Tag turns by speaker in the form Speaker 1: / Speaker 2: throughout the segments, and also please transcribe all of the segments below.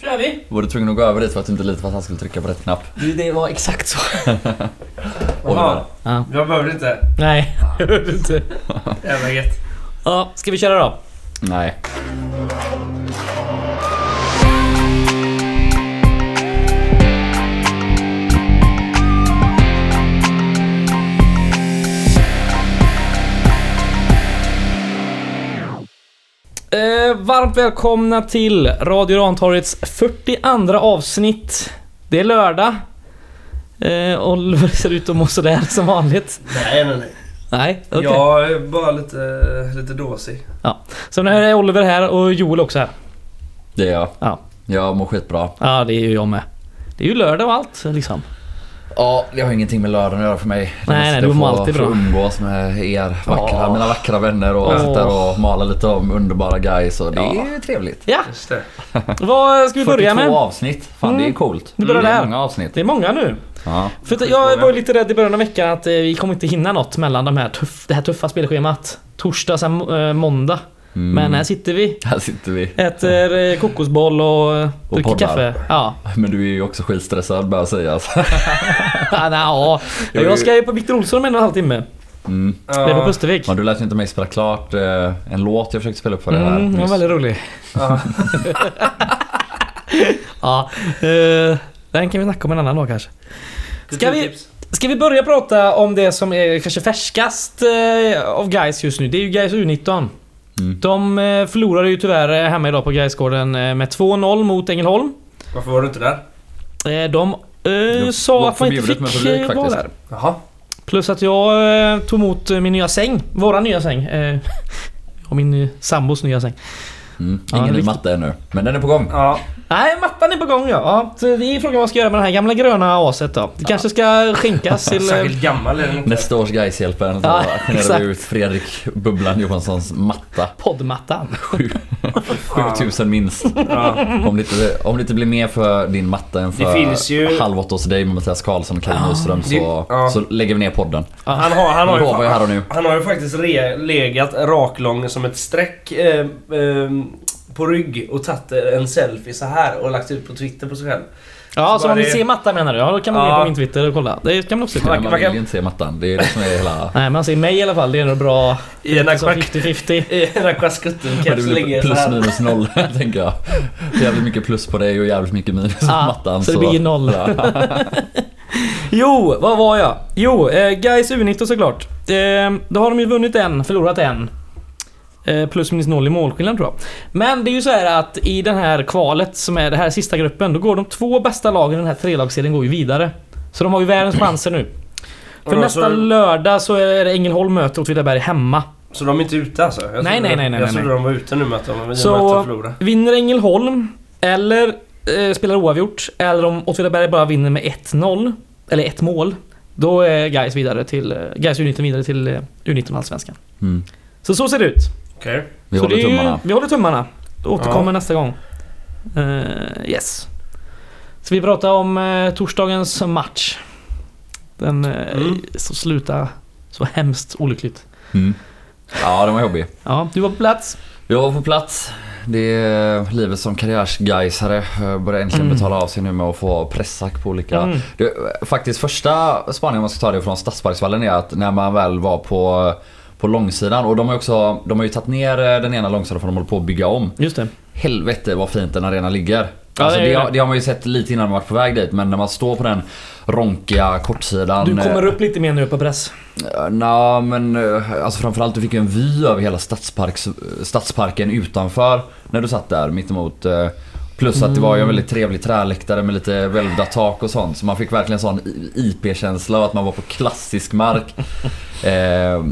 Speaker 1: kör vi.
Speaker 2: Var du tvungen att gå över dit för att du inte litade på att han skulle trycka på rätt knapp?
Speaker 3: Du, det var exakt så.
Speaker 2: Oj,
Speaker 1: Jaha,
Speaker 3: Ja.
Speaker 1: jag behövde inte.
Speaker 3: Nej, jag hörde inte.
Speaker 1: Jävla gött.
Speaker 3: Ja, ska vi köra då?
Speaker 2: Nej.
Speaker 3: Eh, varmt välkomna till Radio Rantorgets 42 avsnitt. Det är lördag. Eh, Oliver ser ut att må sådär som vanligt.
Speaker 1: Nej, nej, nej.
Speaker 3: Nej, okej.
Speaker 1: Jag är bara lite, lite dåsig.
Speaker 3: Så nu är Oliver här och Joel också här.
Speaker 2: Det är jag.
Speaker 3: Ja.
Speaker 2: Jag mår skitbra.
Speaker 3: Ja, det är ju jag med. Det är ju lördag och allt liksom.
Speaker 2: Ja, det har ingenting med lördagen att göra för mig. Det
Speaker 3: Nej,
Speaker 2: måste
Speaker 3: nej, du
Speaker 2: få-
Speaker 3: mår alltid
Speaker 2: få
Speaker 3: bra.
Speaker 2: umgås med er vackra,
Speaker 3: Ja.
Speaker 2: mina vackra vänner och
Speaker 3: Ja.
Speaker 2: sitta och mala lite om underbara guys och det
Speaker 3: Ja.
Speaker 2: är ju trevligt.
Speaker 3: Ja,
Speaker 1: Just det.
Speaker 3: vad ska vi börja
Speaker 2: 42
Speaker 3: med?
Speaker 2: avsnitt. Fan det är
Speaker 3: Mm.
Speaker 2: coolt.
Speaker 3: Vi börjar
Speaker 2: det är
Speaker 3: där.
Speaker 2: många avsnitt.
Speaker 3: Det är många nu.
Speaker 2: Ja.
Speaker 3: För att jag var ju lite rädd i början av veckan att eh, vi kommer inte hinna något mellan de här tuff, det här tuffa spelschemat. Torsdag, sen eh, måndag.
Speaker 2: Mm.
Speaker 3: Men eh, här sitter vi.
Speaker 2: Här sitter vi.
Speaker 3: Äter eh, kokosboll och, eh,
Speaker 2: Och
Speaker 3: dricker
Speaker 2: poddar.
Speaker 3: kaffe. Ja.
Speaker 2: Men du är ju också skitstressad bör jag säga. alltså.
Speaker 3: ja, nej, ja.
Speaker 2: Jag
Speaker 3: Jag
Speaker 2: vill-
Speaker 3: ska ju på Victor Olsson om en och en halv timme.
Speaker 2: Mm.
Speaker 3: Det är på
Speaker 1: Ja,
Speaker 3: Pustervik.
Speaker 2: Men du lät ju inte mig spela klart eh, en låt jag försökte spela upp för dig här
Speaker 3: Mm, det var
Speaker 2: nyss.
Speaker 3: väldigt rolig.
Speaker 1: ja.
Speaker 3: Ja, eh, den kan vi snacka om en annan dag kanske. Ska vi-
Speaker 1: Kulturtips.
Speaker 3: Ska vi börja prata om det som är kanske färskast eh, av guys just nu? Det är ju guys U19.
Speaker 2: Mm.
Speaker 3: De eh, förlorade ju tyvärr eh, hemma idag på Gaisgården eh, med 2-0 mot Ängelholm.
Speaker 1: Varför var du inte där?
Speaker 3: Eh, De eh,
Speaker 2: Det
Speaker 3: sa
Speaker 2: var
Speaker 3: att man inte
Speaker 2: förbjudet
Speaker 3: fick
Speaker 2: med publik,
Speaker 3: eh, vara
Speaker 2: faktiskt.
Speaker 3: där.
Speaker 1: Jaha.
Speaker 3: Plus att jag eh, tog emot eh, min nya säng. Våra nya säng. eh, Och min eh, sambos nya säng.
Speaker 2: Mm.
Speaker 3: Ja,
Speaker 2: Ingen ny
Speaker 3: riktigt.
Speaker 2: matte ännu. Men den är på gång.
Speaker 1: Ja.
Speaker 3: Nej, mattan är på gång ja. ja så det är frågan vad jag ska göra med det här gamla gröna aset då. Det kanske ska skänkas till... eh,
Speaker 1: Särskilt gammal är den inte.
Speaker 2: Nästa års Gais-hjälpen
Speaker 3: Ja,
Speaker 2: genererar
Speaker 3: exakt.
Speaker 2: vi ut Fredrik Bubblan Johanssons matta.
Speaker 3: Poddmattan.
Speaker 2: Sju- 7000 minst.
Speaker 1: Ja.
Speaker 2: Om det, inte, om det inte blir mer för din matta än för
Speaker 1: Det finns ju-
Speaker 2: Halv åtta hos dig med Mattias Karlsson och Karin Nyström så,
Speaker 1: Det- ja.
Speaker 2: så lägger vi ner podden.
Speaker 1: Han har, han har
Speaker 2: Nu lovar jag här
Speaker 1: ju,
Speaker 2: och nu.
Speaker 1: han har ju faktiskt re, legat raklång som ett streck eh, eh, på rygg och tagit en selfie så här och lagt ut på Twitter på sig själv.
Speaker 3: Ja,
Speaker 1: Så
Speaker 3: så
Speaker 1: bara
Speaker 3: om ni
Speaker 1: det-
Speaker 3: ser mattan menar du? Ja, då kan man gå in
Speaker 1: Ja.
Speaker 3: på min Twitter och kolla. Det kan man också göra.
Speaker 1: Man-
Speaker 2: Man
Speaker 1: man
Speaker 2: vill
Speaker 1: kan-
Speaker 2: ju inte se mattan. Det är det som är hela...
Speaker 3: Nej, men han ser mig i alla fall. Det är ändå bra.
Speaker 1: I en
Speaker 3: Liksom
Speaker 1: akvak-
Speaker 3: 50-50.
Speaker 1: I den där skjutskutteln
Speaker 2: Men
Speaker 1: kanske
Speaker 2: det blir
Speaker 1: ligger
Speaker 2: plus
Speaker 1: såhär.
Speaker 2: minus noll tänker jag. Jävligt mycket plus på dig och jävligt mycket minus på
Speaker 3: Ah,
Speaker 2: mattan.
Speaker 3: så det blir noll. Jo, vad var jag? Jo, eh, guys U19 såklart. Eh, då har de ju vunnit en, förlorat en. Eh, plus minus noll i målskillnad tror jag. Men det är ju så här att i den här kvalet som är den här sista gruppen, då går de två bästa lagen i den här trelagsserien går ju vidare. Så de har ju världens chanser nu.
Speaker 1: Och
Speaker 3: För
Speaker 1: då
Speaker 3: nästa
Speaker 1: så-
Speaker 3: lördag så är det Ängelholm möter Åtvidaberg hemma.
Speaker 1: Så de är inte ute alltså? Jag
Speaker 3: Nej,
Speaker 1: trodde-
Speaker 3: nej, nej, nej,
Speaker 1: Jag
Speaker 3: nej.
Speaker 1: trodde de var ute nu med att de, i och med
Speaker 3: Så-
Speaker 1: att de förlorade.
Speaker 3: Vinner Ängelholm eller eh, spelar oavgjort eller om Åtvidaberg bara vinner med 1-0 eller ett mål. Då är Gais vidare till eh, Gais U19 vidare till eh, U19 Allsvenskan.
Speaker 2: Mm.
Speaker 3: Så så ser det ut.
Speaker 1: Okej.
Speaker 2: Vi
Speaker 3: så
Speaker 2: håller
Speaker 3: det är ju-
Speaker 2: tummarna.
Speaker 3: Vi håller tummarna. Återkommer
Speaker 1: Ja.
Speaker 3: nästa gång. Eh, yes. Så vi pratar om eh, torsdagens match. Den eh,
Speaker 1: Mm.
Speaker 3: som slutade så hemskt olyckligt.
Speaker 2: Mm. Ja, den var jobbig.
Speaker 3: Ja, du var på plats.
Speaker 2: Jag var på plats. Det är livet som karriärsgaisare. Jag Börjar äntligen
Speaker 3: Mm.
Speaker 2: betala av sig nu med att få pressack på olika...
Speaker 3: Mm.
Speaker 2: Det, faktiskt första spaningen man ska ta det från Stadsparksvallen är att när man väl var på, på långsidan och de har ju också de har ju tagit ner eh, den ena långsidan för de håller på att bygga om.
Speaker 3: Just det.
Speaker 2: Helvete vad fint en arena ligger.
Speaker 3: Ja,
Speaker 2: alltså,
Speaker 3: det
Speaker 2: det,
Speaker 3: är ju
Speaker 2: har,
Speaker 3: det.
Speaker 2: det har man ju sett lite innan man varit på väg dit men när man står på den ronkiga kortsidan.
Speaker 3: Du kommer
Speaker 2: eh,
Speaker 3: upp lite mer nu på press.
Speaker 2: Eh, Nja men eh, alltså framförallt du fick ju en vy över hela stadsparks, eh, stadsparken utanför när du satt där mittemot. eh, Plus att det var ju en
Speaker 3: Mm.
Speaker 2: väldigt trevlig träläktare med lite välvda tak och sånt. Så man fick verkligen sån I- IP-känsla av att man var på klassisk mark. Eh,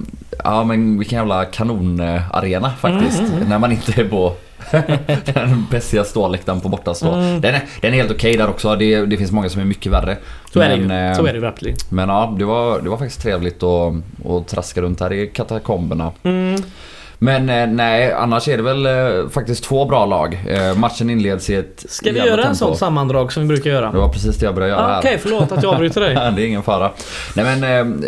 Speaker 2: ja men vilken jävla kanonarena eh, faktiskt.
Speaker 3: Mm.
Speaker 2: När man inte är på den bästa ståläktaren på bortastå.
Speaker 3: Mm.
Speaker 2: Den, är, den är helt okej där också. Det, det finns många som är mycket värre.
Speaker 3: Så är det
Speaker 2: Men,
Speaker 3: ju.
Speaker 2: eh,
Speaker 3: Så är det ju verkligen.
Speaker 2: men ja, det var, det var faktiskt trevligt att, att traska runt här i katakomberna.
Speaker 3: Mm.
Speaker 2: Men eh, nej, annars är det väl eh, faktiskt två bra lag. Eh, matchen inleds i ett
Speaker 3: Ska vi
Speaker 2: jävla
Speaker 3: göra en
Speaker 2: tempo.
Speaker 3: sån sammandrag som vi brukar göra?
Speaker 2: Det var precis det jag började göra
Speaker 3: Ah,
Speaker 2: här.
Speaker 3: Okej, förlåt att jag avbryter dig.
Speaker 2: det är ingen fara. Nej men eh,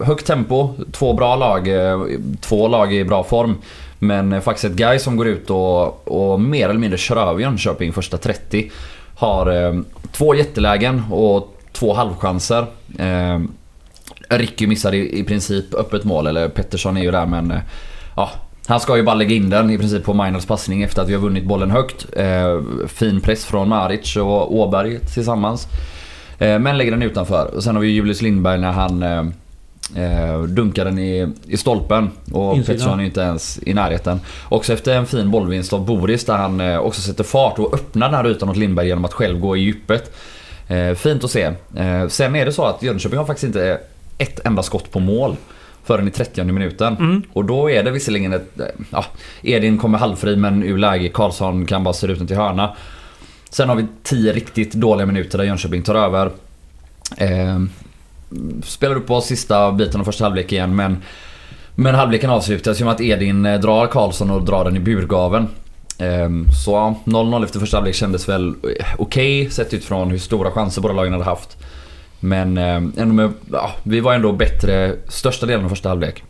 Speaker 2: eh, högt tempo, två bra lag, eh, två lag i bra form. Men eh, faktiskt ett guy som går ut och, och mer eller mindre kör över Jönköping första 30. Har eh, två jättelägen och två halvchanser. Eh, Ricky missar i, i princip öppet mål, eller Pettersson är ju där men... eh, Ja, han ska ju bara lägga in den i princip på Miners passning efter att vi har vunnit bollen högt. Eh, fin press från Maric och Åberg tillsammans. Eh, men lägger den utanför. Och sen har vi Julius Lindberg när han eh, eh, dunkar den i, i stolpen. Och
Speaker 3: Insidan.
Speaker 2: Pettersson är ju inte ens i närheten. Också efter en fin bollvinst av Boris där han eh, också sätter fart och öppnar den här rutan åt Lindberg genom att själv gå i djupet. Eh, fint att se. Eh, sen är det så att Jönköping har faktiskt inte ett enda skott på mål förrän i 30 minuten. Och då är det visserligen ett... eh, Ja, Edin kommer halvfri men ur läge. Karlsson kan bara styra ut den till hörna. Sen har vi 10 riktigt dåliga minuter där Jönköping tar över. Eh, spelar upp oss sista biten av första halvlek igen men men halvleken avslutas ju med att Edin eh, drar Karlsson och drar den i burgaven. Ehm, Så ja, 0-0 efter första halvlek kändes väl eh, okej sett utifrån hur stora chanser båda lagen hade haft. Men eh, ändå med, ja, vi var ändå bättre största delen av första halvlek.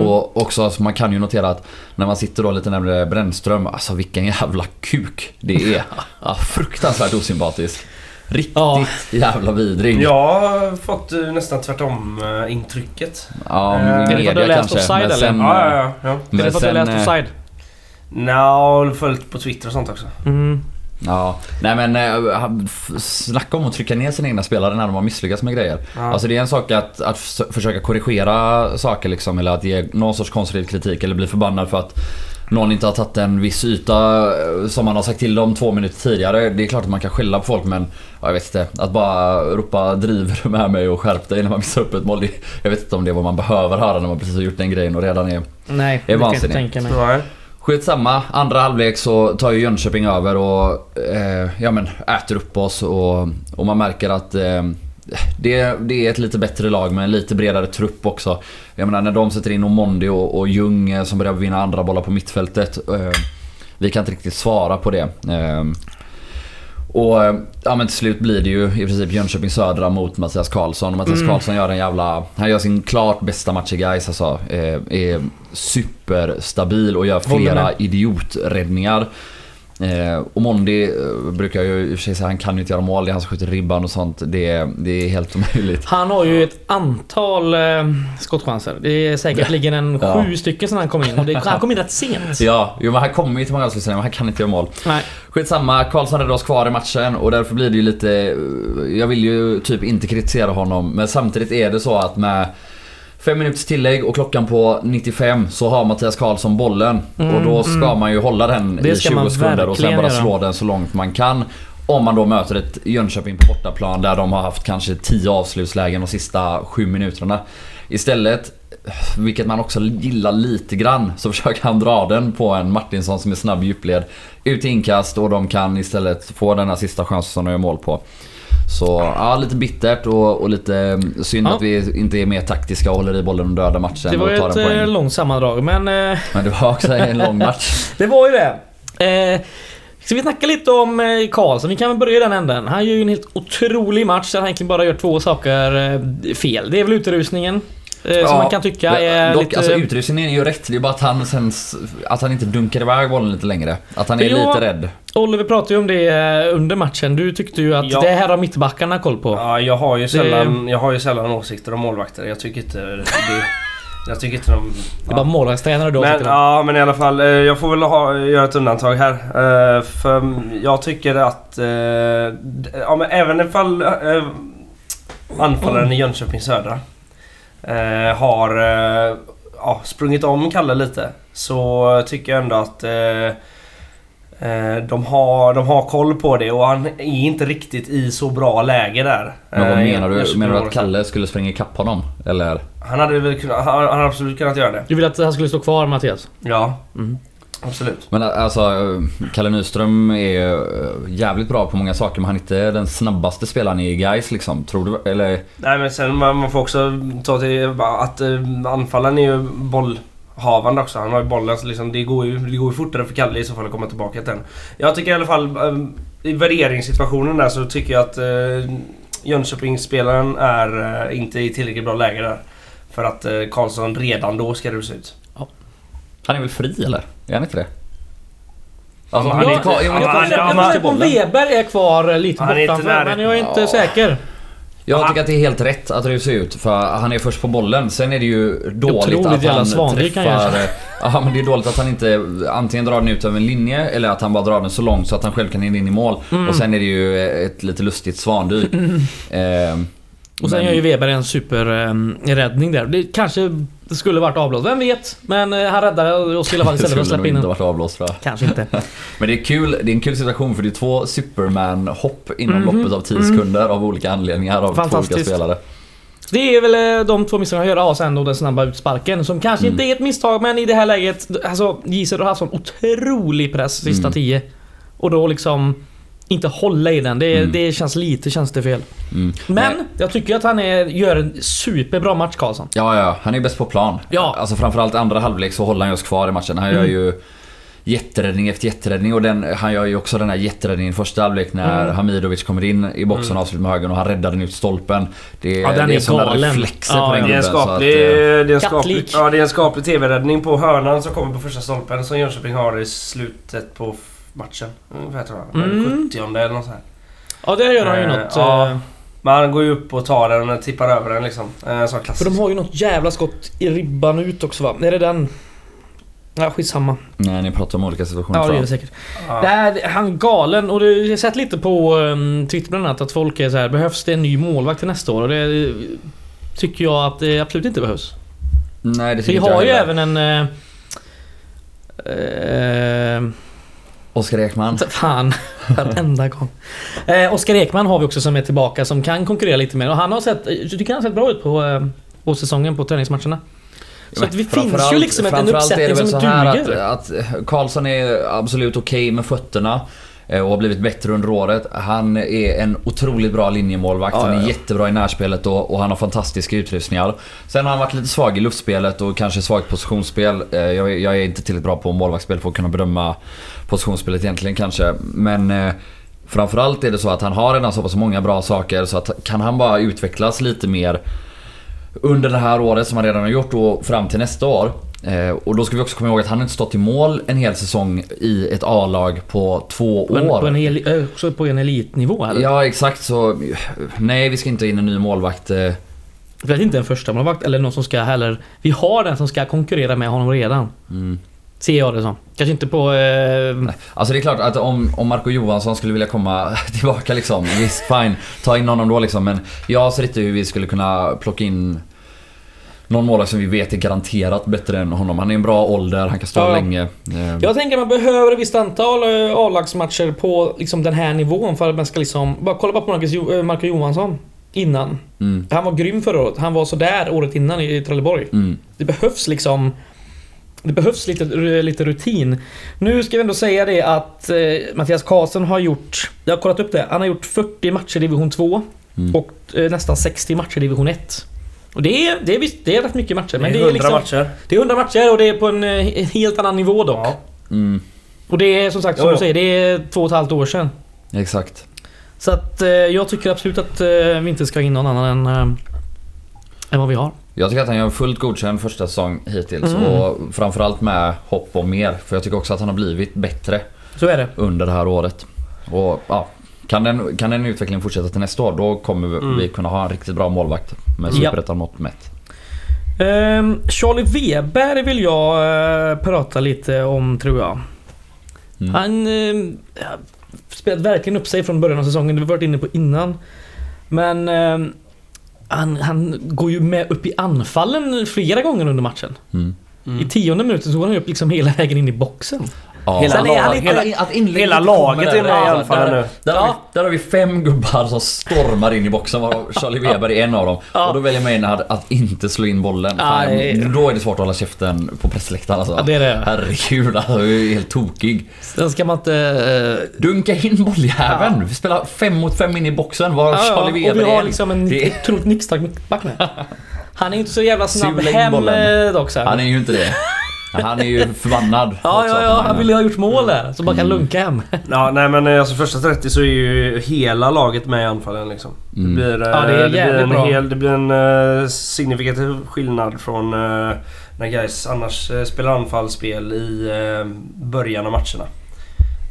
Speaker 2: Och också, alltså, man kan ju notera att när man sitter då lite närmare Brännström, alltså vilken jävla kuk det är. Ja, fruktansvärt osympatisk. Riktigt
Speaker 3: Ja.
Speaker 2: jävla vidrig.
Speaker 1: Jag har fått eh, nästan tvärtom eh, intrycket.
Speaker 2: Ja,
Speaker 1: Eh, är
Speaker 3: att
Speaker 1: det för
Speaker 3: du har
Speaker 2: media
Speaker 3: läst
Speaker 2: kanske.
Speaker 3: offside,
Speaker 2: men
Speaker 3: eller?
Speaker 2: sen,
Speaker 1: Ja, ja, ja. ja.
Speaker 3: Är
Speaker 2: men
Speaker 3: det för att du har
Speaker 2: sen,
Speaker 3: läst
Speaker 2: eh,
Speaker 3: offside?
Speaker 1: Nja, och följt på Twitter och sånt också.
Speaker 3: Mm.
Speaker 2: Ja, nej men eh, han- f- snacka om att trycka ner sina egna spelare när de har misslyckats med grejer.
Speaker 1: Ja.
Speaker 2: Alltså det är en sak att, att förs- försöka korrigera saker liksom eller att ge någon sorts konstruktiv kritik eller bli förbannad för att någon inte har tagit en viss yta eh, som man har sagt till dem två minuter tidigare. Det är klart att man kan skälla på folk men ja, jag vet inte. Att bara ropa driver du med mig och skärp dig när man missar upp ett mål. det- Jag vet inte om det är vad man behöver höra när man precis har gjort den grejen och redan är
Speaker 3: Nej,
Speaker 2: det är
Speaker 3: det kan jag inte
Speaker 2: vansinnigt.
Speaker 3: tänka mig.
Speaker 1: Nej.
Speaker 2: Skitsamma, andra halvlek så tar ju Jönköping över och eh, ja, men, äter upp oss och, och man märker att eh, det, det är ett lite bättre lag med en lite bredare trupp också. Jag menar när de sätter in Omondi och, och Ljung eh, som börjar vinna andra bollar på mittfältet. Eh, vi kan inte riktigt svara på det. Eh, och eh, ja, men till slut blir det ju i princip Jönköping Södra mot Mattias Karlsson. Och Mattias
Speaker 3: Mm.
Speaker 2: Karlsson gör en jävla... Han gör sin klart bästa match i Gais alltså. Eh, är superstabil och gör
Speaker 3: Håller
Speaker 2: flera
Speaker 3: med.
Speaker 2: idioträddningar. Eh, och Mondi eh, brukar jag ju i och för sig säga, han kan ju inte göra mål. Det är han som skjuter ribban och sånt. Det, det är helt omöjligt.
Speaker 3: Han har ju ett antal eh, skottchanser. Det är säkert ligger en
Speaker 2: Ja.
Speaker 3: sju stycken sedan han kom in. Och det, han kom in rätt sent.
Speaker 2: Ja, jo, men han kommer ju till många avslut men han kan inte göra mål.
Speaker 3: Nej.
Speaker 2: Skitsamma, Karlsson räddade oss kvar i matchen och därför blir det ju lite... eh, Jag vill ju typ inte kritisera honom men samtidigt är det så att med fem minuters tillägg och klockan på 95 så har Mattias Karlsson bollen. och då ska man ju hålla den
Speaker 3: Mm, Det
Speaker 2: i
Speaker 3: ska man
Speaker 2: 20 sekunder och sen
Speaker 3: verkligen
Speaker 2: bara
Speaker 3: göra.
Speaker 2: slå den så långt man kan. Om man då möter ett Jönköping på bortaplan där de har haft kanske 10 avslutslägen de sista 7 minuterna. Istället, vilket man också gillar lite grann, så försöker han dra den på en Martinsson som är snabb i djupled. Ut i inkast och de kan istället få den här sista chansen som de gör mål på. Så ja, lite bittert och, och lite mm, synd
Speaker 3: Ja.
Speaker 2: att vi inte är mer taktiska och håller i bollen och dödar matchen
Speaker 3: Det var ju
Speaker 2: och tar
Speaker 3: ett
Speaker 2: en poäng.
Speaker 3: eh, långt sammandrag, men... Eh,
Speaker 2: Men det var också en lång match.
Speaker 3: Det var ju det. Eh, ska vi snacka lite om eh, Karlsson? Vi kan väl börja i den änden. Han gör ju en helt otrolig match där han egentligen bara gör två saker eh, fel. Det är väl utrusningen. Eh, som man kan tycka är
Speaker 2: Dock,
Speaker 3: lite...
Speaker 2: alltså utrustningen är ju rätt. Det är bara att han, sen, s- att han inte dunkar iväg bollen lite längre. Att han är
Speaker 3: Jo.
Speaker 2: lite rädd.
Speaker 3: Oliver pratade ju om det eh, under matchen. Du tyckte ju att
Speaker 1: Ja.
Speaker 3: det här har mittbackarna koll på.
Speaker 1: Ja, jag har ju sällan, jag har ju sällan åsikter om målvakter. Jag tycker inte det, Jag tycker inte de...
Speaker 3: Det är bara målvaktstränare då.
Speaker 1: Men,
Speaker 3: tyckte de.
Speaker 1: ja, men i alla fall. eh, Jag får väl ha, göra ett undantag här. Eh, För jag tycker att... eh, d- Ja, men även ifall eh, anfallaren i Jönköping Södra eh, har eh, ja, sprungit om Kalle lite. Så tycker jag ändå att eh, eh, de, har, de har koll på det och han är inte riktigt i så bra läge där.
Speaker 2: Men vad
Speaker 1: Eh,
Speaker 2: menar du?
Speaker 1: Jönköping
Speaker 2: Menar du att
Speaker 1: målet.
Speaker 2: Kalle skulle spränga ikapp honom? Eller?
Speaker 1: Han hade väl kunnat, han, han hade absolut kunnat göra det.
Speaker 3: Du ville att han skulle stå kvar Mattias?
Speaker 1: Ja.
Speaker 3: Mm.
Speaker 1: Absolut.
Speaker 2: Men alltså, eh, Kalle Nyström är ju eh, jävligt bra på många saker men han är inte den snabbaste spelaren i Gais liksom. Tror du? Eller?
Speaker 1: Nej men sen man, man får också ta till att eh, anfallaren är ju bollhavande också. Han har ju bollen så liksom, det, går ju, det går ju fortare för Kalle i så fall att komma tillbaka till den. Jag tycker i alla fall eh, i värderingssituationen där så tycker jag att eh, Jönköpingsspelaren är eh, inte i tillräckligt bra läge där. För att eh, Karlsson redan då ska rusa ut.
Speaker 2: Han är väl fri eller? Är han inte det? Alltså,
Speaker 1: Ja,
Speaker 2: han är
Speaker 3: jag-
Speaker 2: kvar,
Speaker 1: ja,
Speaker 2: jag,
Speaker 3: Jag
Speaker 1: han-
Speaker 3: funderar- jag
Speaker 1: han-
Speaker 3: funderar på om
Speaker 2: bollen.
Speaker 3: Weber är kvar eh, lite
Speaker 1: Han är inte
Speaker 3: bortanför,
Speaker 1: där.
Speaker 3: men jag är inte
Speaker 2: Ja.
Speaker 3: säker.
Speaker 2: jag tycker att det är helt rätt att det ser ut för han är först på bollen. Sen är det ju dåligt att
Speaker 3: jävla
Speaker 2: han
Speaker 3: Svanvik han gör.
Speaker 2: träffar... eh, Ja men det är dåligt att han inte antingen drar den ut över en linje eller att han bara drar den så långt så att han själv kan in i mål.
Speaker 3: Mm.
Speaker 2: Och sen är det ju ett lite lustigt svandyk. Ehm,
Speaker 3: Och sen
Speaker 2: men-
Speaker 3: gör ju Weber en superräddning där. Det kanske skulle varit avblåst, vem vet? Men eh, han räddade oss i alla fall
Speaker 2: Det
Speaker 3: istället för
Speaker 2: skulle
Speaker 3: att
Speaker 2: nog
Speaker 3: släppa in
Speaker 2: inte
Speaker 3: den.
Speaker 2: varit avblåst tror jag.
Speaker 3: Kanske inte.
Speaker 2: Men det är kul, det är en kul situation för det är två Superman-hopp inom loppet av 10 sekunder av olika anledningar av två olika
Speaker 3: Mhm. Mm. Fantastiskt.
Speaker 2: spelare.
Speaker 3: Det är väl eh, de två misstagen han gör. Ja, sen då den snabba utsparken som kanske
Speaker 2: Mm.
Speaker 3: inte är ett misstag men i det här läget. Alltså Gisel har haft sån otrolig press sista
Speaker 2: Mm.
Speaker 3: tio. Och då liksom inte hålla i den. Det,
Speaker 2: Mm.
Speaker 3: det känns lite känns det fel.
Speaker 2: Mm.
Speaker 3: Men jag tycker att han är, gör en superbra match Karlsson.
Speaker 2: Ja, ja, han är ju bäst på plan.
Speaker 3: Ja. Mm.
Speaker 2: Alltså framförallt andra halvlek så håller han ju oss kvar i matchen. Han gör ju jätteräddning efter jätteräddning och den, han gör ju också den här jätteräddningen i första halvlek när
Speaker 3: Mm.
Speaker 2: Hamidovic kommer in i boxen och avslutar med högern och han räddar den ut stolpen. Det,
Speaker 3: Ja, den
Speaker 2: det
Speaker 3: är
Speaker 2: såna
Speaker 3: galen.
Speaker 2: reflexer
Speaker 3: Ja,
Speaker 2: på den
Speaker 3: ja.
Speaker 1: Det är en
Speaker 2: gubben, så att,
Speaker 1: skaplig,
Speaker 2: eh,
Speaker 1: det är en skaplig,
Speaker 3: kattlik.
Speaker 1: ja, det är en skaplig TV-räddning på hörnan som kommer på första stolpen som Jönköping har i slutet på f- matchen. Ungefär tror jag.
Speaker 3: Mm.
Speaker 1: 70 eller något sånt här.
Speaker 3: Ja där gör han ju
Speaker 1: Eh,
Speaker 3: något.
Speaker 1: ja.
Speaker 3: eh,
Speaker 1: Men han går ju upp och tar den och tippar över den liksom. Eh, Så
Speaker 3: För
Speaker 1: klassiskt.
Speaker 3: de har ju något jävla skott i ribban ut också va? Är det den? Ja skitsamma.
Speaker 2: Nej, ni pratar om olika situationer
Speaker 3: Ja det
Speaker 2: tror
Speaker 3: är
Speaker 2: jag.
Speaker 3: det säkert.
Speaker 1: Ja.
Speaker 3: Där, han är galen och det jag har sett lite på um, Twitter bland annat att folk är så här behövs det en ny målvakt till nästa år? Och det eh, tycker jag att det absolut inte behövs.
Speaker 2: Nej, det
Speaker 3: Vi
Speaker 2: tycker inte jag
Speaker 3: har ju
Speaker 2: heller.
Speaker 3: även en... eh, Eh,
Speaker 2: Oskar Ekman.
Speaker 3: fan, varenda gång. Eh, Oskar Ekman har vi också som är tillbaka som kan konkurrera lite mer och han har sett, jag tycker han har sett bra ut på, eh, på säsongen på träningsmatcherna. Så
Speaker 2: Men
Speaker 3: att vi finns ju
Speaker 2: framförallt-
Speaker 3: liksom ett- en
Speaker 2: framförallt är det
Speaker 3: uppsättning
Speaker 2: väl
Speaker 3: som
Speaker 2: så här
Speaker 3: duger.
Speaker 2: Att, att Karlsson är absolut okej med fötterna. eh, Och har blivit bättre under året. Han är en otroligt bra linjemålvakt. han är jättebra i närspelet och, och han har fantastiska utlyftningar. Sen har han varit lite svag i luftspelet och kanske svagt positionsspel. Eh, Jag, jag är inte tillräckligt bra på målvaktsspel för att kunna bedöma positionsspelet egentligen kanske. Men eh, framförallt är det så att han har redan så pass många bra saker så att kan han bara utvecklas lite mer under det här året som han redan har gjort och fram till nästa år. Eh, och då ska vi också komma ihåg att han inte stått i mål en hel säsong i ett A-lag på två
Speaker 3: På en,
Speaker 2: år.
Speaker 3: på en, hel- eh, också på en elitnivå eller?
Speaker 2: Ja exakt så, nej vi ska inte in en ny målvakt. eh.
Speaker 3: Vet inte en första målvakt eller någon som ska heller... Vi har den som ska konkurrera med honom redan.
Speaker 2: Mm.
Speaker 3: Ser jag det som. Kanske inte på... Eh,
Speaker 2: Alltså det är klart att om, om Marco Johansson skulle vilja komma tillbaka liksom, visst fine. Ta in honom då liksom men jag ser inte hur vi skulle kunna plocka in någon målvakt som vi vet är garanterat bättre än honom. Han är en bra ålder, han kan stå
Speaker 3: Ja.
Speaker 2: länge. Eh,
Speaker 3: jag tänker att man behöver ett visst antal eh, A-lagsmatcher på liksom, den här nivån för att man ska liksom... Bara kolla bara på Marcus, Jo- eh, Marco Johansson. Innan.
Speaker 2: Mm,
Speaker 3: Han var grym förra året. Han var sådär året innan i, i Trelleborg.
Speaker 2: mm.
Speaker 3: Det behövs liksom... Det behövs lite, lite rutin. Nu ska vi ändå säga det att eh, Mattias Karlsson har gjort... Jag har kollat upp det. Han har gjort 40 matcher i division 2
Speaker 2: Mm.
Speaker 3: och eh, nästan 60 matcher i division 1. Och det är, det, är, visst- det är rätt mycket matcher. Men
Speaker 1: det
Speaker 3: det
Speaker 1: är
Speaker 3: är,
Speaker 1: 100
Speaker 3: liksom,
Speaker 1: matcher.
Speaker 3: det är 100 matcher och det är på en eh, en helt annan nivå dock.
Speaker 1: Ja.
Speaker 2: Mm,
Speaker 3: Och det är som sagt som
Speaker 1: Jo,
Speaker 3: du
Speaker 1: jo.
Speaker 3: säger, det är två och ett halvt år sedan.
Speaker 2: exakt.
Speaker 3: Så att eh, jag tycker absolut att eh, vi inte ska ha in någon annan än, eh, än vad vi har.
Speaker 2: Jag tycker att han gör en fullt godkänd första säsong hittills
Speaker 3: Mm.
Speaker 2: och framförallt med hopp om mer. För jag tycker också att han har blivit bättre
Speaker 3: Så är det.
Speaker 2: under det här året. Och ja, kan den, kan den utvecklingen fortsätta till nästa år då kommer vi,
Speaker 1: Mm.
Speaker 2: vi kunna ha en riktigt bra målvakt med
Speaker 3: Ja.
Speaker 2: superettan mått mätt.
Speaker 3: Ehm, Charlie Weber vill jag eh, prata lite om tror jag.
Speaker 2: Mm.
Speaker 3: Han uh, spelat verkligen upp sig från början av säsongen, det har vi varit inne på innan. Men eh, han, han går ju med upp i anfallen flera gånger under matchen.
Speaker 2: Mm.
Speaker 3: I tionde minuten så går han ju upp liksom hela vägen in i boxen.
Speaker 2: Ja.
Speaker 1: Hela
Speaker 2: Sen är han
Speaker 1: lag-
Speaker 2: lite-
Speaker 1: hela-
Speaker 2: att inlägget
Speaker 1: hela
Speaker 2: inte kommer
Speaker 1: laget
Speaker 2: där,
Speaker 1: är med i
Speaker 2: alltså,
Speaker 1: anfallen
Speaker 2: där-
Speaker 1: nu.
Speaker 2: Där, har vi,
Speaker 3: Ja.
Speaker 2: där har vi fem gubbar som stormar in i boxen varav Charlie Weber är en av dem.
Speaker 3: Ja.
Speaker 2: Och då väljer Maynard att inte slå in bollen. Fan,
Speaker 3: Nej.
Speaker 2: då är det svårt att hålla käften på pressläktaren alltså.
Speaker 3: Ja, det är det.
Speaker 2: Herregud alltså, jag är ju helt tokig.
Speaker 3: Sen ska man inte... eh,
Speaker 2: Dunka in bolljäveln! Vi spelar fem mot fem in i boxen varav
Speaker 3: ja, ja,
Speaker 2: Charlie Weber
Speaker 3: och vi
Speaker 2: är
Speaker 3: har
Speaker 2: en.
Speaker 3: liksom en
Speaker 2: Det-
Speaker 3: otroligt nickstark mittback med. Han är inte så jävla snabb
Speaker 2: Sula in
Speaker 3: hem
Speaker 2: bollen.
Speaker 3: eh, dock så här.
Speaker 2: Han är ju inte det. Men Han är ju förbannad.
Speaker 3: Ja,
Speaker 2: också
Speaker 3: ja,
Speaker 2: att
Speaker 3: ja. Han
Speaker 2: han
Speaker 3: Mm.
Speaker 2: vinner.
Speaker 3: ville ha gjort mål där. Så bara kan lunka hem.
Speaker 1: Ja, nej men eh, alltså första 30 så är ju hela laget med i anfallen liksom. Det
Speaker 2: Mm.
Speaker 1: blir, eh,
Speaker 3: Ja, det är
Speaker 1: det blir
Speaker 3: jävligt
Speaker 1: en,
Speaker 3: bra.
Speaker 1: hel, det blir en eh, signifikativ skillnad från eh, när guys annars eh, spelar anfallsspel i eh, början av matcherna.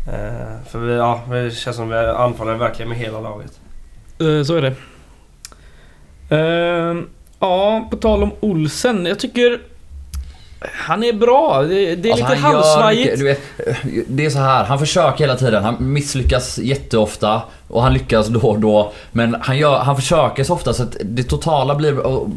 Speaker 1: Eh, för vi, ja, det känns som vi anfaller verkligen med hela laget.
Speaker 3: Eh, Så är det. Ehm, ja, på tal om Olsen. Jag tycker... Han är bra. Det, det är
Speaker 2: Alltså,
Speaker 3: lite
Speaker 2: han gör
Speaker 3: halvsvajigt.
Speaker 2: mycket- Du vet, det är så här, han försöker hela tiden. Han misslyckas jätteofta och han lyckas då och då. Men han, gör, han försöker så ofta så att det totala blir, och,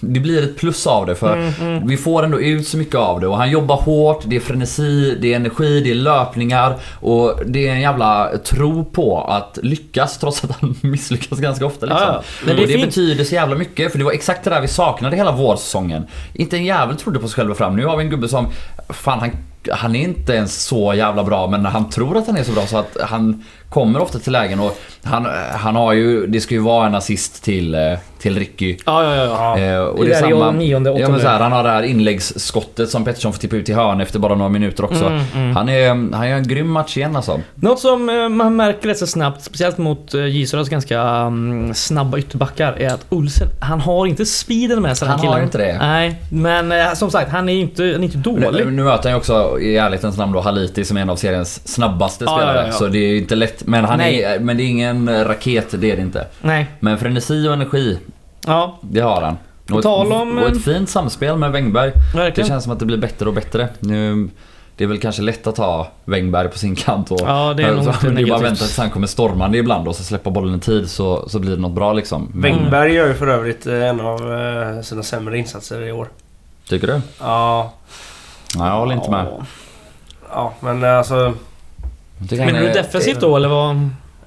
Speaker 2: det blir ett plus av det. För
Speaker 3: Mm,
Speaker 2: vi får ändå ut så mycket av det och han jobbar hårt, det är frenesi, det är energi, det är löpningar och det är en jävla tro på att lyckas trots att han misslyckas ganska ofta. Liksom.
Speaker 3: Ja, ja. Men det är
Speaker 2: och det
Speaker 3: fint.
Speaker 2: betyder så jävla mycket för det var exakt det där vi saknade hela vårsäsongen. Inte en jävel trodde på sig själv och fram. Nu har vi en gubbe som, fan han, han är inte ens så jävla bra men han tror att han är så bra så att han kommer ofta till lägen och han, han har ju, det ska ju vara en assist till, eh, till Ricky.
Speaker 3: Ja, ja, ja. ja.
Speaker 1: Ja.
Speaker 2: Eh,
Speaker 3: Det
Speaker 2: och
Speaker 3: där är ju nionde,
Speaker 2: ja, men
Speaker 3: åttonde.
Speaker 2: så här, Han har det här inläggsskottet som Pettersson får tippa ut i hörn efter bara några minuter också.
Speaker 3: Mm,
Speaker 2: Han, är, han gör en grym match igen alltså.
Speaker 3: Något som eh, man märker rätt så snabbt, speciellt mot eh, J Södras ganska mm, snabba ytterbackar, är att Olsen, han har inte speeden med sig den här
Speaker 2: Han har
Speaker 3: killen.
Speaker 2: inte det.
Speaker 3: Nej, men eh, som sagt, han är ju inte, han är inte
Speaker 2: Nu, nu
Speaker 3: dålig.
Speaker 2: nu möter han ju också i ärlighetens namn då Haliti som är en av seriens snabbaste
Speaker 3: Ja,
Speaker 2: spelare.
Speaker 3: ja, ja.
Speaker 2: Så det är ju inte lätt. Men, han
Speaker 3: Nej.
Speaker 2: är, men det är ingen raket, det är det inte.
Speaker 3: Nej.
Speaker 2: Men frenesi och energi,
Speaker 3: Ja,
Speaker 2: det har han.
Speaker 3: På
Speaker 2: Och,
Speaker 3: tal om-
Speaker 2: ett, och ett fint samspel med Wängberg. Det
Speaker 3: verkligen.
Speaker 2: känns som att det blir bättre och bättre. Nu, det är väl kanske lätt att ha Wängberg på sin kant och
Speaker 3: Ja, det är nog
Speaker 2: så,
Speaker 3: inte
Speaker 2: det är bara
Speaker 3: negativt.
Speaker 2: att vänta tills han kommer stormande ibland och så släppa bollen i tid så, så blir det något bra liksom. Men-
Speaker 1: Wängberg gör ju för övrigt eh, en av eh, sina sämre insatser i år.
Speaker 2: Tycker du?
Speaker 1: Ja,
Speaker 2: Nej, jag håller inte med.
Speaker 1: ja men eh, alltså...
Speaker 2: Jag tycker han
Speaker 3: Menar du
Speaker 2: är-
Speaker 3: defensivt då eller vad?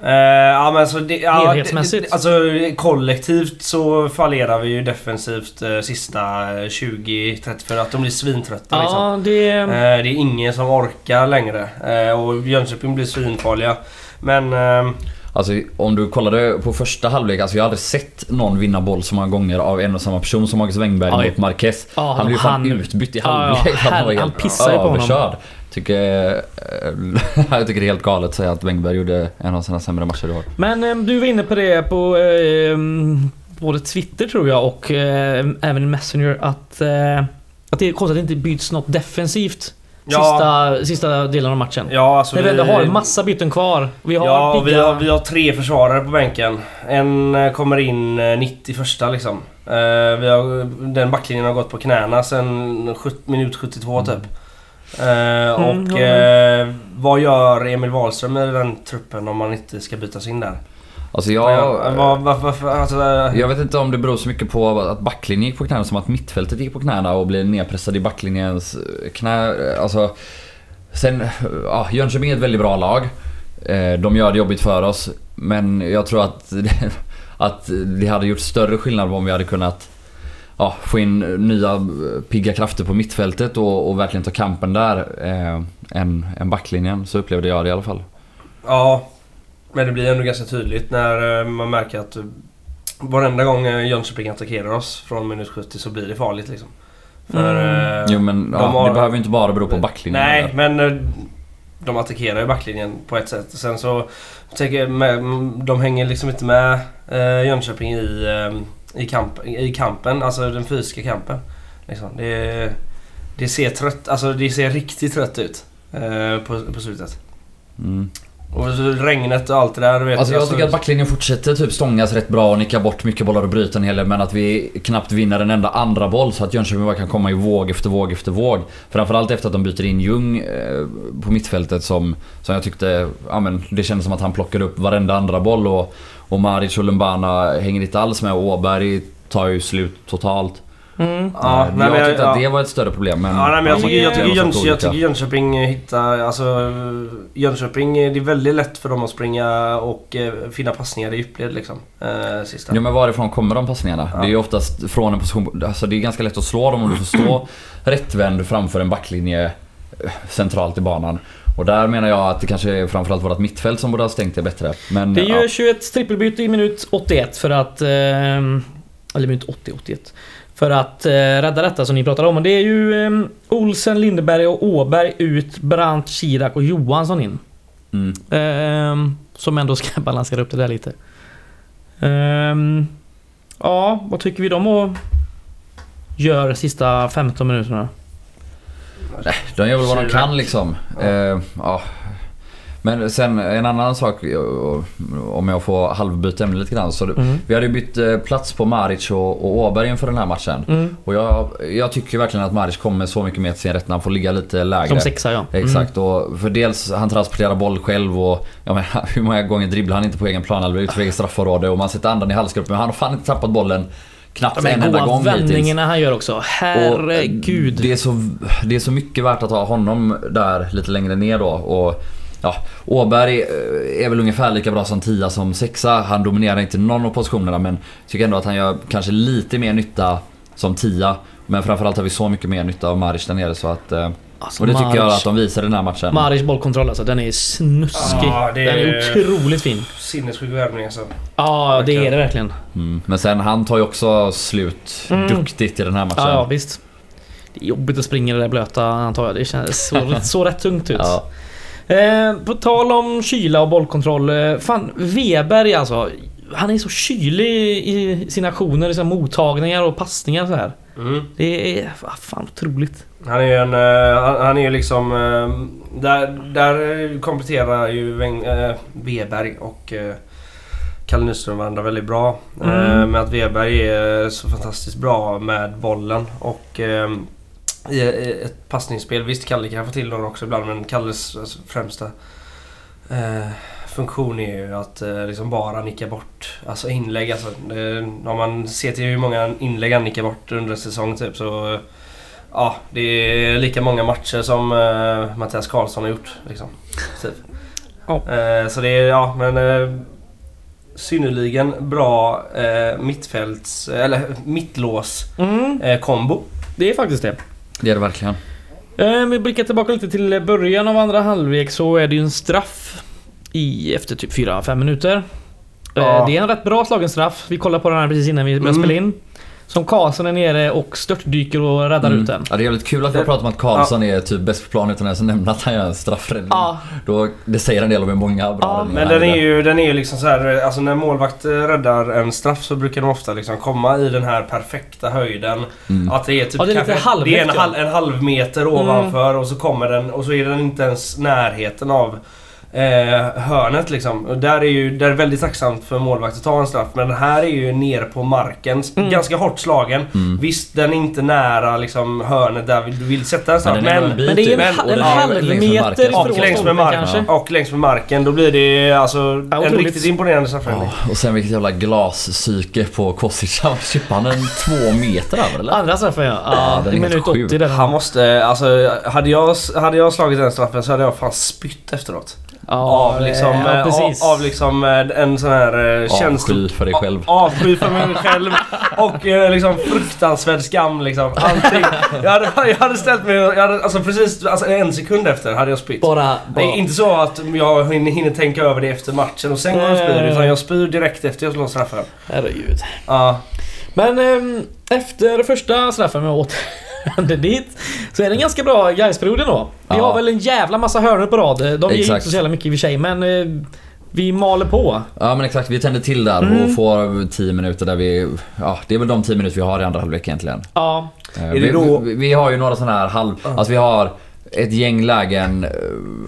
Speaker 1: Eh, ja, men alltså, det, ja,
Speaker 3: Helhetsmässigt.
Speaker 1: det- det- Alltså kollektivt så fallerar vi ju defensivt eh, sista eh, 20-30 för att de blir svintrötta liksom.
Speaker 3: Ja, det...
Speaker 1: Eh, det är ingen som orkar längre eh, och Jönköping blir svinfarliga. Men... ehm,
Speaker 2: Alltså om du kollade på första halvlek, alltså jag har aldrig sett någon vinna boll så många gånger av en och samma person som Marcus Wängberg
Speaker 3: Oj.
Speaker 2: mot Marquez.
Speaker 3: Ja,
Speaker 2: han blev ju fan
Speaker 3: han-
Speaker 2: utbytt i
Speaker 3: Ja, ja,
Speaker 2: halvlek.
Speaker 3: herre,
Speaker 2: var
Speaker 3: han
Speaker 2: helt
Speaker 3: pissade ju på honom.
Speaker 2: överkörd. Tycker, eh, jag tycker det är helt galet att säga att Wängberg gjorde en av sina sämre matcher i år.
Speaker 3: Men eh, du var inne på det på eh, både Twitter tror jag och eh, även i Messenger att, eh, att det är konstigt att det inte byts något defensivt
Speaker 1: ja,
Speaker 3: sista, sista delen av matchen.
Speaker 1: ja, alltså
Speaker 3: När vi ändå har en massa byten kvar. Vi har
Speaker 1: ja,
Speaker 3: pigga...
Speaker 1: vi har, vi har tre försvarare på bänken. En eh, kommer in eh, 91 liksom. Eh, vi har, den backlinjen har gått på knäna sen sjut- minut 72 typ. Eh,
Speaker 3: Mm,
Speaker 1: och
Speaker 3: ja.
Speaker 1: eh, vad gör Emil Wahlström i den truppen om man inte ska bytas in där?
Speaker 2: Alltså
Speaker 1: Vad
Speaker 2: jag...
Speaker 1: gör- vad- vad- varför- alltså, eh,
Speaker 2: Jag vet inte om det beror så mycket på att backlinjen gick på knäna som att mittfältet gick på knäna och blev nedpressad i backlinjens eh, knä. Alltså, sen, eh, ja, Jönköping är ett väldigt bra lag. Eh, De gör det jobbigt för oss. Men jag tror att det, att det hade gjort större skillnad om vi hade kunnat ja, få in nya eh, pigga krafter på mittfältet och, och verkligen ta kampen där. eh, Än, än backlinjen. Så upplevde jag det i alla fall.
Speaker 1: Ja, men det blir ändå ganska tydligt när eh, man märker att eh, varenda gång eh, Jönköping attackerar oss från minut 70 så blir det farligt liksom. För,
Speaker 3: Mm.
Speaker 1: eh,
Speaker 2: Jo men
Speaker 1: de
Speaker 2: ja,
Speaker 1: har-
Speaker 2: det behöver ju inte bara bero på backlinjen.
Speaker 1: Nej,
Speaker 2: eller?
Speaker 1: men eh, de attackerar ju backlinjen på ett sätt. Sen så tänker jag, med- mm, de hänger liksom inte med eh, Jönköping i, eh, i, kamp, i kampen, alltså den fysiska kampen. Liksom. Det, det ser trött, alltså det ser riktigt trött ut eh, på, på slutet.
Speaker 2: Mm.
Speaker 1: Och så regnet och allt det där. du Vet
Speaker 2: Alltså jag tycker att backlinjen fortsätter typ stångas rätt bra och nicka bort mycket bollar och bryta en hel del men att vi knappt vinner en enda andra boll så att Jönköping bara kan komma i våg efter våg efter våg. Framförallt efter att de byter in Ljung eh, på mittfältet som, som jag tyckte, ja men det kändes som att han plockade upp varenda andra boll och, och Maric och Lumbana hänger inte alls med och Åberg tar ju slut totalt.
Speaker 3: Mm.
Speaker 1: Ja,
Speaker 2: Eh,
Speaker 1: nej, men
Speaker 2: jag
Speaker 1: jag-
Speaker 2: tyckte att
Speaker 1: ja.
Speaker 2: det var ett större problem men...
Speaker 1: Ja, nej, men jag, tycker, jag, tycker
Speaker 2: Mm. Det var så
Speaker 1: Jöns, jag
Speaker 2: olika.
Speaker 1: tycker Jönköping hittar... Alltså, Jönköping, det är väldigt lätt för dem att springa och eh, finna passningar i djupled liksom. Eh, sista.
Speaker 2: Ja men varifrån kommer de passningarna?
Speaker 1: Ja.
Speaker 2: Det är ju oftast från en position, alltså det är ganska lätt att slå dem om du får stå rättvänd framför en backlinje eh, centralt i banan. Och där menar jag att det kanske är framförallt vårt mittfält som borde ha stängt det bättre. Men
Speaker 3: Det
Speaker 2: ja,
Speaker 3: görs ju ett trippelbyte i minut 81 för att... ehm, Eller minut 80, 81. För att eh, rädda detta som ni pratade om. Och det är ju eh, Olsen, Lindeberg och Åberg ut, Brandt, Kirak och Johansson in.
Speaker 2: Mm.
Speaker 3: Ehm, som ändå ska balansera upp det där lite. Ehm, ja, vad tycker vi de å- gör sista 15 minuterna?
Speaker 2: De gör väl vad de kan liksom. Eh, ja. Men sen en annan sak, eh, om jag får halvbyta ämne lite grann. Så
Speaker 3: Mm.
Speaker 2: Vi hade ju bytt eh, plats på Maric och, och Åberg inför den här matchen.
Speaker 3: Mm.
Speaker 2: Och jag, jag tycker verkligen att Maric kommer så mycket mer till sin rätt när han får ligga lite lägre.
Speaker 3: Som sexa ja. Mm.
Speaker 2: Exakt, och för dels han transporterar boll själv och ja, men, hur många gånger dribblar han inte på egen plan eller
Speaker 3: Ah.
Speaker 2: utanför eget straffområde och man sätter andan i halsgruppen men han har fan inte tappat bollen
Speaker 3: Ja,
Speaker 2: knappt en
Speaker 3: men
Speaker 2: enda
Speaker 3: goa
Speaker 2: gång hittills.
Speaker 3: Alltså, vändningarna han gör också.
Speaker 2: Och, eh,
Speaker 3: Herregud.
Speaker 2: Det är, så, det är så mycket värt att ha honom där lite längre ner då. Och, ja, Åberg eh, är väl ungefär lika bra som tia som sexa. Han dominerar inte någon av positionerna men tycker ändå att han gör kanske lite mer nytta som tia. Men framförallt har vi så mycket mer nytta av Maric där nere så att... eh,
Speaker 3: Alltså,
Speaker 2: Och det tycker jag
Speaker 3: Maric-
Speaker 2: att de visar i den här matchen.
Speaker 3: Maric bollkontroll alltså, den är snuskig.
Speaker 1: Ja, det
Speaker 3: Den är
Speaker 1: är-
Speaker 3: otroligt fin.
Speaker 1: Sinnessjuk värvning alltså.
Speaker 3: Ja, det
Speaker 1: Verkligen.
Speaker 3: är det verkligen.
Speaker 2: Mm. Men sen han tar ju också slut
Speaker 3: Mm.
Speaker 2: duktigt i den här matchen.
Speaker 3: Ja, ja, visst. Det är jobbigt att springa i det där blöta antar jag. Det känns så, så rätt tungt ut.
Speaker 2: Ja.
Speaker 3: Eh, på tal om kyla och bollkontroll. Eh, fan, Weberg alltså. Han är så kylig i sina aktioner, i sina mottagningar och passningar så här.
Speaker 1: Mm.
Speaker 3: Det är ah, fan otroligt.
Speaker 1: Han är ju en... eh, han, han är ju liksom... eh, där, där kompletterar ju Weng, eh, Weberg och eh, Kalle Nyström varandra väldigt bra. Eh,
Speaker 3: Mm.
Speaker 1: med att Weberg är så fantastiskt bra med bollen och... eh, i i ett passningsspel. Visst, Kalle kan få till dem också ibland men Kalles alltså, främsta eh, funktion är ju att eh, liksom bara nicka bort alltså inlägg. Alltså, det, om man ser till hur många inlägg han nickar bort under en säsong typ så... eh, Ja, det är lika många matcher som eh, Mattias Karlsson har gjort. Liksom, typ.
Speaker 3: Ja.
Speaker 1: eh, så det är, ja men... Eh, synnerligen bra eh, mittfälts... Eller mittlås
Speaker 3: Mm,
Speaker 1: eh, kombo.
Speaker 3: det är faktiskt det.
Speaker 2: Det är det verkligen.
Speaker 3: Eh, vi blickar tillbaka lite till början av andra halvlek så är det ju en straff i efter typ 4-5 minuter. Eh,
Speaker 1: Ja.
Speaker 3: det är en rätt bra slagen straff. Vi kollar på den här precis innan vi började
Speaker 1: Mm.
Speaker 3: spela in. Som Karlsson är nere och störtdyker och räddar
Speaker 2: Mm.
Speaker 3: ut den.
Speaker 2: Ja, det är jävligt kul att vi har pratat om att Karlsson är typ bäst på plan utan ens att nämna att han gör en straffräddning.
Speaker 3: Ja,
Speaker 2: Då, det säger en del om hur många bra
Speaker 3: Ja,
Speaker 2: räddningar
Speaker 1: Men
Speaker 2: han
Speaker 1: den är
Speaker 2: gjorde.
Speaker 1: ju, den är ju liksom så här, alltså när målvakt eh, räddar en straff så brukar de ofta liksom komma i den här perfekta höjden.
Speaker 2: Mm.
Speaker 1: Att det är typ
Speaker 3: Ja, det är lite Mm. halvhögt,
Speaker 1: det är en,
Speaker 3: ja.
Speaker 1: halv, en halv meter ovanför och så kommer den och så är den inte ens närheten av eh, hörnet liksom. Och där är ju där är det väldigt tacksamt för målvakt att ta en straff men den här är ju ner på marken. s-
Speaker 3: Mm.
Speaker 1: Ganska hårt slagen.
Speaker 2: Mm.
Speaker 1: Visst den är inte nära liksom hörnet där du vill sätta en straff
Speaker 2: Men den är
Speaker 1: men
Speaker 2: väl en bit
Speaker 3: men det är
Speaker 2: ut
Speaker 3: en,
Speaker 2: och
Speaker 3: ha- en
Speaker 2: den är
Speaker 3: halv
Speaker 2: väl längs med
Speaker 3: meter
Speaker 2: marken.
Speaker 3: ifrån
Speaker 1: och längs, med
Speaker 3: stolpen
Speaker 1: marken,
Speaker 3: kanske.
Speaker 1: och längs med marken, då blir det alltså
Speaker 3: Ja,
Speaker 1: en
Speaker 3: otroligt.
Speaker 1: riktigt imponerande straffräddning.
Speaker 2: Ja, och sen vilket jävla glaspsyke på Kostic. Han chippade han en två meter över eller?
Speaker 3: Andra straffen ja.
Speaker 2: Ja,
Speaker 3: ja
Speaker 2: den är
Speaker 3: I
Speaker 2: helt
Speaker 3: minut
Speaker 2: sjuk.
Speaker 3: 80 där.
Speaker 1: Han måste, alltså hade jag, hade jag slagit den straffen så hade jag fan spytt efteråt. av liksom,
Speaker 3: ja,
Speaker 1: eh,
Speaker 3: precis.
Speaker 1: av, av liksom eh, en sån här eh, känsla...
Speaker 2: Avsky för dig själv.
Speaker 1: Avsky för mig själv och eh, liksom fruktansvärd skam liksom. Allting. Jag hade, jag hade ställt mig jag hade, alltså precis alltså, en sekund efter hade jag spytt.
Speaker 3: Bara... bara.
Speaker 1: Det är inte så att jag hinner hinner tänka över det efter matchen och sen går jag och spyr utan jag spyr direkt efter jag slår straffen.
Speaker 3: Herregud.
Speaker 1: Ja.
Speaker 3: Men ehm, efter första straffen med återvänder dit så är det en ganska bra Gais-period ändå. Vi
Speaker 2: Ja.
Speaker 3: har väl en jävla massa hörnor på rad. De ger ju
Speaker 2: Exakt.
Speaker 3: inte så jävla mycket i och för sig men eh, vi maler på.
Speaker 2: Ja men exakt, vi tänder till där
Speaker 3: Mm.
Speaker 2: och får 10 minuter där vi... Ja, det är väl de 10 minuter vi har i andra halvlek egentligen.
Speaker 3: Ja.
Speaker 2: Eh,
Speaker 1: det
Speaker 2: vi,
Speaker 1: då-
Speaker 2: vi, vi har ju några sådana här halv... Alltså vi har ett gäng lägen eh,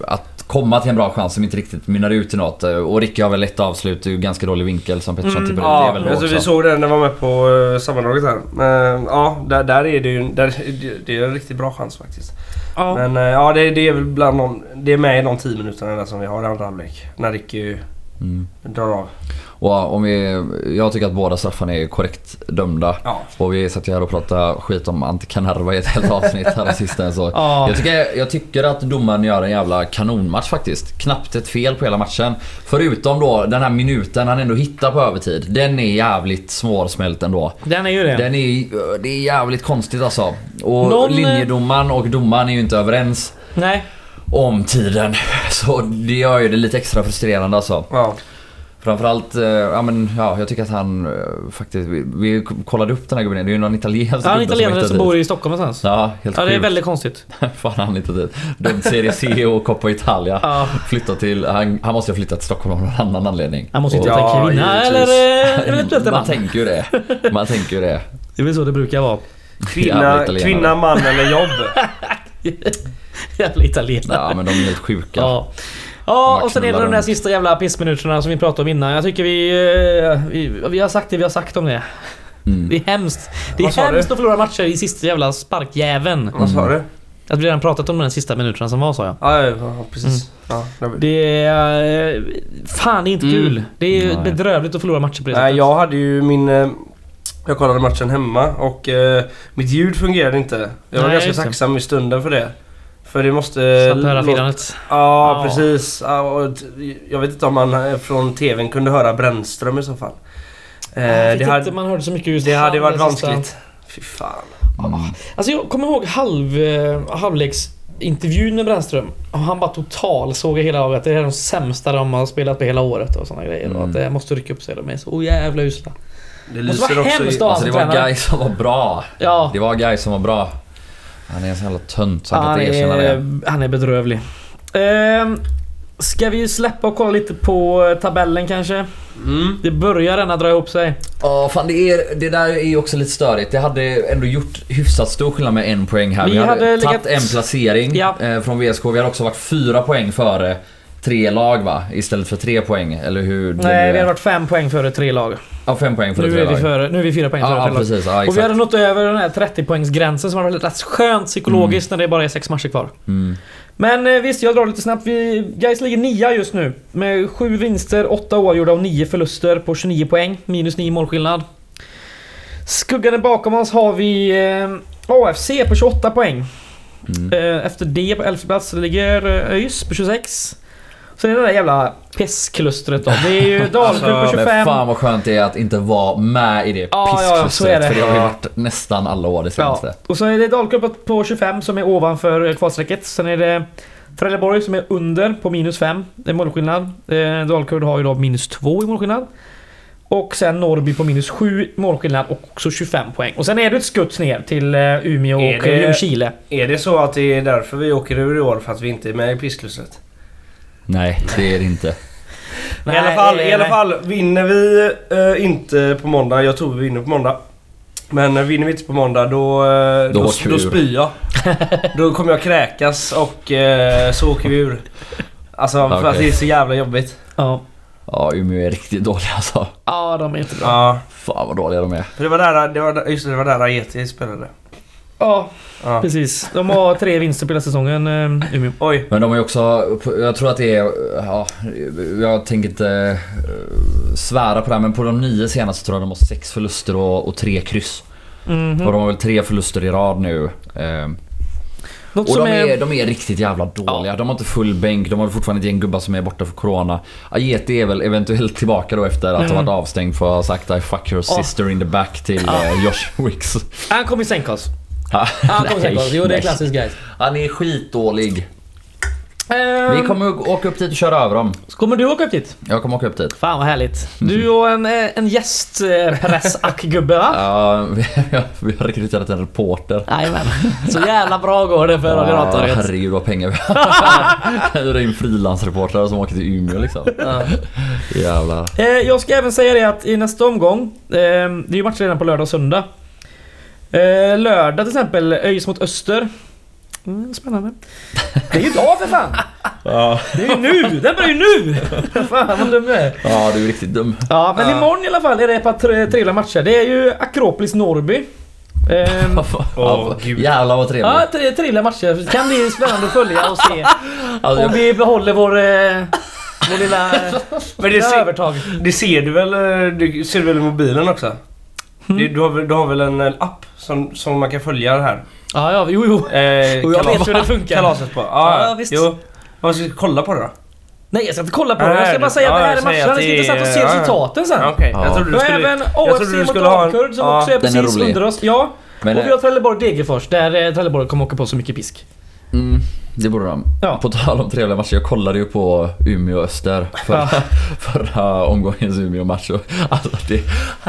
Speaker 2: att komma till en bra chans som inte riktigt mynnar ut i något. Eh, Och Ricky har väl ett avslut ur ganska dålig vinkel som Pettersson mm, tippar ut. det är väl då
Speaker 1: alltså,
Speaker 2: också.
Speaker 1: vi såg den när jag var med på uh, sammandraget här. Eh, ja, där, där är det ju där, det- det är en riktigt bra chans faktiskt.
Speaker 3: ja.
Speaker 1: Men eh, ja, det, det är väl bland de, Det är med i de 10 minuterna där som vi har i andra halvlek. När Ricky
Speaker 2: Mm.
Speaker 1: drar av.
Speaker 2: Och om vi, jag tycker att båda straffarna är korrekt dömda.
Speaker 1: Ja.
Speaker 2: Och vi satt ju här och pratade skit om Ante Kanerva i ett helt avsnitt här sisten. Så
Speaker 3: Ja.
Speaker 2: jag, tycker, jag tycker att domaren gör en jävla kanonmatch faktiskt. Knappt ett fel på hela matchen. Förutom då den här minuten han ändå hittar på övertid. Den är jävligt svårsmält ändå.
Speaker 3: Den är ju det.
Speaker 2: Den är, det är jävligt konstigt alltså. Och
Speaker 3: Någon- eh,
Speaker 2: linjedomaren och domaren är ju inte överens
Speaker 3: Nej.
Speaker 2: om tiden. Så det gör ju det lite extra frustrerande alltså.
Speaker 1: Ja.
Speaker 2: Framförallt, eh, ja men ja, jag tycker att han eh, faktiskt, vi, vi kollade upp den här gubben, det är ju någon italiensk
Speaker 3: Ja, en
Speaker 2: gubbe
Speaker 3: italienare
Speaker 2: hittade
Speaker 3: som
Speaker 2: dit.
Speaker 3: bor i Stockholm någonstans.
Speaker 2: Ja, helt
Speaker 3: Ja, det är
Speaker 2: sjukt.
Speaker 3: väldigt konstigt.
Speaker 2: Fan han hittade dit. Dömd Serie C och Coppa Italia.
Speaker 3: Ja.
Speaker 2: Flyttat till, han, han måste ju ha flyttat till Stockholm av någon annan anledning.
Speaker 3: Han måste inte
Speaker 1: Ja,
Speaker 3: ta en kvinna eller
Speaker 1: givetvis.
Speaker 3: eh, eventuellt en
Speaker 2: Man
Speaker 3: man.
Speaker 2: tänker ju det. Man tänker ju det.
Speaker 3: Det är väl så det brukar vara.
Speaker 2: Jävla
Speaker 1: Kvinna,
Speaker 2: italienare.
Speaker 1: kvinna, man eller jobb.
Speaker 3: Jävla italienare.
Speaker 2: Ja men de är helt sjuka.
Speaker 3: Ja.
Speaker 2: Man
Speaker 3: Ja, och sen är det
Speaker 2: knullar
Speaker 3: de där
Speaker 2: runt.
Speaker 3: sista jävla pissminuterna som vi pratade om innan. Jag tycker vi... eh, Vi, vi har sagt det vi har sagt om det.
Speaker 2: Mm.
Speaker 3: Det är hemskt. Det
Speaker 1: Vad
Speaker 3: är
Speaker 1: sa
Speaker 3: hemskt
Speaker 1: du? Mm.
Speaker 3: att förlora matcher i sista jävla sparkjäveln.
Speaker 1: Vad sa du?
Speaker 3: Att vi redan pratat om de där sista minuterna som var sa jag.
Speaker 1: Ja, ja, ja precis. Ja, det var-
Speaker 3: Det är... eh, Fan, det är inte
Speaker 1: Mm.
Speaker 3: kul. Det är
Speaker 2: Nej.
Speaker 3: bedrövligt att förlora matcher på det
Speaker 1: Nej,
Speaker 3: sättet.
Speaker 1: jag hade ju min... eh, Jag kollade matchen hemma och eh, mitt ljud fungerade inte. Jag var
Speaker 3: Nej, just
Speaker 1: ganska
Speaker 3: det.
Speaker 1: tacksam i stunden för det. För det måste...
Speaker 3: Slapp höra
Speaker 1: låta-
Speaker 3: firandet.
Speaker 1: Ja,
Speaker 3: Ja.
Speaker 1: precis. Ja, och t- jag vet inte om man eh, från TVn kunde höra Brännström i så fall. Eh,
Speaker 3: Jag vet
Speaker 1: det, hade,
Speaker 3: inte, man hörde så mycket just
Speaker 1: det
Speaker 3: han,
Speaker 1: hade varit
Speaker 3: den sista-
Speaker 1: vanskligt. Fy fan.
Speaker 2: Mm.
Speaker 3: Alltså jag kommer ihåg halv, eh, halvleksintervjun med Brännström. Och han bara total såg hela av att det är de sämsta de har spelat på hela året och sådana grejer. Och
Speaker 2: Mm.
Speaker 3: att det måste rycka upp sig. De är så oh, jävla usla.
Speaker 1: Det
Speaker 3: Måste vara
Speaker 1: lyser också
Speaker 3: hemskt
Speaker 1: i...
Speaker 3: att ha
Speaker 2: Alltså det
Speaker 3: som
Speaker 2: var
Speaker 3: tränare.
Speaker 2: guys som var bra.
Speaker 3: Ja.
Speaker 2: Det var guys som var bra. Han är en sån jävla tönt så han
Speaker 3: Han
Speaker 2: kan inte erkänna det.
Speaker 3: är, han är bedrövlig. Ehm, ska vi släppa och kolla lite på eh, tabellen kanske?
Speaker 1: Mm.
Speaker 3: Det börjar redan dra ihop sig.
Speaker 2: Ja fan det, är, det där är ju också lite störigt. Det hade ändå gjort hyfsat stor skillnad med en poäng här.
Speaker 3: Vi
Speaker 2: Vi, hade,
Speaker 3: hade
Speaker 2: tagit
Speaker 3: legat-
Speaker 2: en placering
Speaker 3: Ja.
Speaker 2: eh, från VSK. Vi hade också varit fyra poäng före tre lag va? Istället för tre poäng. Eller hur? det nu
Speaker 3: Nej,
Speaker 2: är.
Speaker 3: vi har varit fem poäng före tre lag.
Speaker 2: Ja, fem poäng före
Speaker 3: Nu
Speaker 2: tre
Speaker 3: är, vi
Speaker 2: lag.
Speaker 3: före, nu är vi fyra poäng före
Speaker 2: Ja,
Speaker 3: tre
Speaker 2: ja
Speaker 3: lag.
Speaker 2: precis. Ja,
Speaker 3: Och vi
Speaker 2: exakt.
Speaker 3: hade nått över den här 30-poängsgränsen som var väldigt rätt skönt psykologiskt när det bara är sex matcher kvar.
Speaker 2: Mm.
Speaker 3: Men eh, visst, jag drar lite snabbt. Vi, guys ligger nia just nu. Med sju vinster, åtta oavgjorda och nio förluster på 29 poäng. Minus 9 målskillnad. Skuggande bakom oss har vi eh, AFC på 28 poäng.
Speaker 2: Mm.
Speaker 3: Eh, efter det på 11 plats ligger eh, ÖIS på 26. Sen är det där jävla pissklustret då. Det är ju Dalkurd
Speaker 1: Alltså,
Speaker 3: på
Speaker 2: Men
Speaker 3: 25.
Speaker 2: fan vad skönt det är att inte vara med i det
Speaker 3: Ja, ja,
Speaker 2: pissklustret.
Speaker 3: så är det.
Speaker 2: För det har vi
Speaker 1: Ja.
Speaker 2: varit nästan alla år det senaste.
Speaker 3: Ja. Och så är det Dalkurd på 25 som är ovanför eh, kvalstrecket. Sen är det Trelleborg som är under på minus 5 i målskillnad. Eh, Dalkurd har ju då minus 2 i målskillnad. Och sen Norrby på minus 7 i målskillnad och också 25 poäng. Och sen är det ett skutt ner till eh, Umeå
Speaker 1: Är
Speaker 3: och
Speaker 1: det-
Speaker 3: det... Ljungskile.
Speaker 1: Är det så att det är därför vi åker ur i år? För att vi inte är med i pissklustret?
Speaker 2: Nej, det är det inte.
Speaker 1: I alla fall,
Speaker 3: eh,
Speaker 1: i alla
Speaker 3: nej.
Speaker 1: fall vinner vi eh, inte på måndag. Jag tror vi vinner på måndag. Men eh, vinner vi inte på måndag då,
Speaker 2: Då
Speaker 1: eh, då,
Speaker 2: åker vi
Speaker 1: då,
Speaker 2: ur.
Speaker 1: spyr jag. då kommer jag kräkas och eh, så åker vi ur. Alltså för
Speaker 2: Okej.
Speaker 1: att det är så jävla jobbigt.
Speaker 3: Ja.
Speaker 2: Ja, Umeå är riktigt dåliga alltså.
Speaker 3: ja, de är inte bra.
Speaker 1: Ja.
Speaker 2: Fan vad dåliga de är.
Speaker 1: För det var där, det var, där- just det, det var där Aieti spelade.
Speaker 3: Ja,
Speaker 1: Ja.
Speaker 3: precis. De har tre vinster på hela säsongen, eh, Umeå.
Speaker 1: Oj.
Speaker 2: Men de har ju också, jag tror att det är, ja, jag tänker inte eh, svära på det här men på de nio senaste tror jag de har sex förluster och, och tre kryss.
Speaker 3: Mhm.
Speaker 2: Och de har väl tre förluster i rad nu. Eh,
Speaker 3: Något
Speaker 2: Och
Speaker 3: som
Speaker 2: de
Speaker 3: är...
Speaker 2: är, de är riktigt jävla dåliga. De har inte full bänk, de har fortfarande ett gäng gubbar som är borta för Corona. Ajeti är väl eventuellt tillbaka då efter att ha
Speaker 3: Mm.
Speaker 2: varit avstängd för att ha sagt I fuck your
Speaker 3: Ja.
Speaker 2: sister in the back till eh, Josh Wicks.
Speaker 3: Han kommer sänka oss.
Speaker 2: Ja,
Speaker 3: Han kommer
Speaker 2: nej,
Speaker 3: sänka oss. Jo, det är
Speaker 2: nej.
Speaker 3: klassiskt guys.
Speaker 2: Han är skitdålig.
Speaker 3: Ehm,
Speaker 2: Vi kommer att åka upp dit och köra över dem.
Speaker 3: så kommer du åka upp dit?
Speaker 2: Jag kommer åka upp dit.
Speaker 3: Fan vad härligt. Du och en, eh, en gästpressackgubbe va?
Speaker 2: Ja, vi, vi har rekryterat en reporter. Ah,
Speaker 3: Jajamän. Så jävla bra går det för Radiotorget.
Speaker 2: herregud vad pengar vi har. Hyra in frilansreportrar som åker till Umeå liksom. Jävlar.
Speaker 3: Eh, jag ska även säga det att i nästa omgång, eh, det är ju matcher redan på lördag och söndag. Eh, lördag till exempel, ÖIS mot Öster. Mm, spännande. Det är ju idag för fan!
Speaker 2: Ja.
Speaker 3: Det är ju nu! Den börjar ju nu! Fan vad dum du är.
Speaker 2: ja, du är riktigt dum.
Speaker 3: Ja, men imorgon i alla fall är det ett par tre- trevliga matcher. Det är ju Akropolis-Norrby. Ehm,
Speaker 2: Ja,
Speaker 1: gud.
Speaker 2: jävlar vad trevligt.
Speaker 3: Ja, tre trevliga matcher. Det kan bli spännande att följa och se
Speaker 2: Alltså,
Speaker 3: om
Speaker 2: jag,
Speaker 3: vi behåller vår, eh, vår lilla,
Speaker 1: Men det
Speaker 3: lilla
Speaker 1: ser,
Speaker 3: övertag.
Speaker 1: det ser du väl? eh, Du ser du väl i mobilen också?
Speaker 3: Mm.
Speaker 1: Du, du, har, väl- du har väl en eh, app som, som man kan följa det här?
Speaker 3: Ja, ja, jo, jo.
Speaker 1: Eh,
Speaker 3: Och jag
Speaker 1: kalas-
Speaker 3: vet hur det funkar.
Speaker 1: Kalaset på?
Speaker 3: Ja,
Speaker 1: Ja,
Speaker 3: visst.
Speaker 1: Jo. Vad ska vi kolla på då?
Speaker 3: Nej, jag ska inte kolla på det.
Speaker 1: Nej,
Speaker 3: Jag ska bara
Speaker 1: du-
Speaker 3: säga att det
Speaker 1: ja,
Speaker 3: här är
Speaker 1: jag säger
Speaker 3: matcherna.
Speaker 1: att
Speaker 3: Det ska bli intressant
Speaker 1: det
Speaker 3: att se
Speaker 1: är- ja, ja.
Speaker 3: resultaten
Speaker 1: Ja,
Speaker 3: sen.
Speaker 1: Okej,
Speaker 2: Ja.
Speaker 1: jag trodde du
Speaker 3: Och
Speaker 1: skulle...
Speaker 3: även
Speaker 1: trodde du
Speaker 3: AFC mot
Speaker 1: skulle ha en-
Speaker 3: Dalkurd som
Speaker 1: ja,
Speaker 3: också är
Speaker 2: den är
Speaker 3: precis
Speaker 2: rolig.
Speaker 3: under oss. Ja,
Speaker 2: men, eh,
Speaker 3: eh, och vi har Trelleborg-Degerfors där eh, Trelleborg kommer åka på så mycket pisk.
Speaker 2: mm, Det borde de.
Speaker 3: Ja.
Speaker 2: På tal om trevliga matcher, jag kollade ju på Umeå Öster förra, förra omgångens Umeå-match. och Alltså det,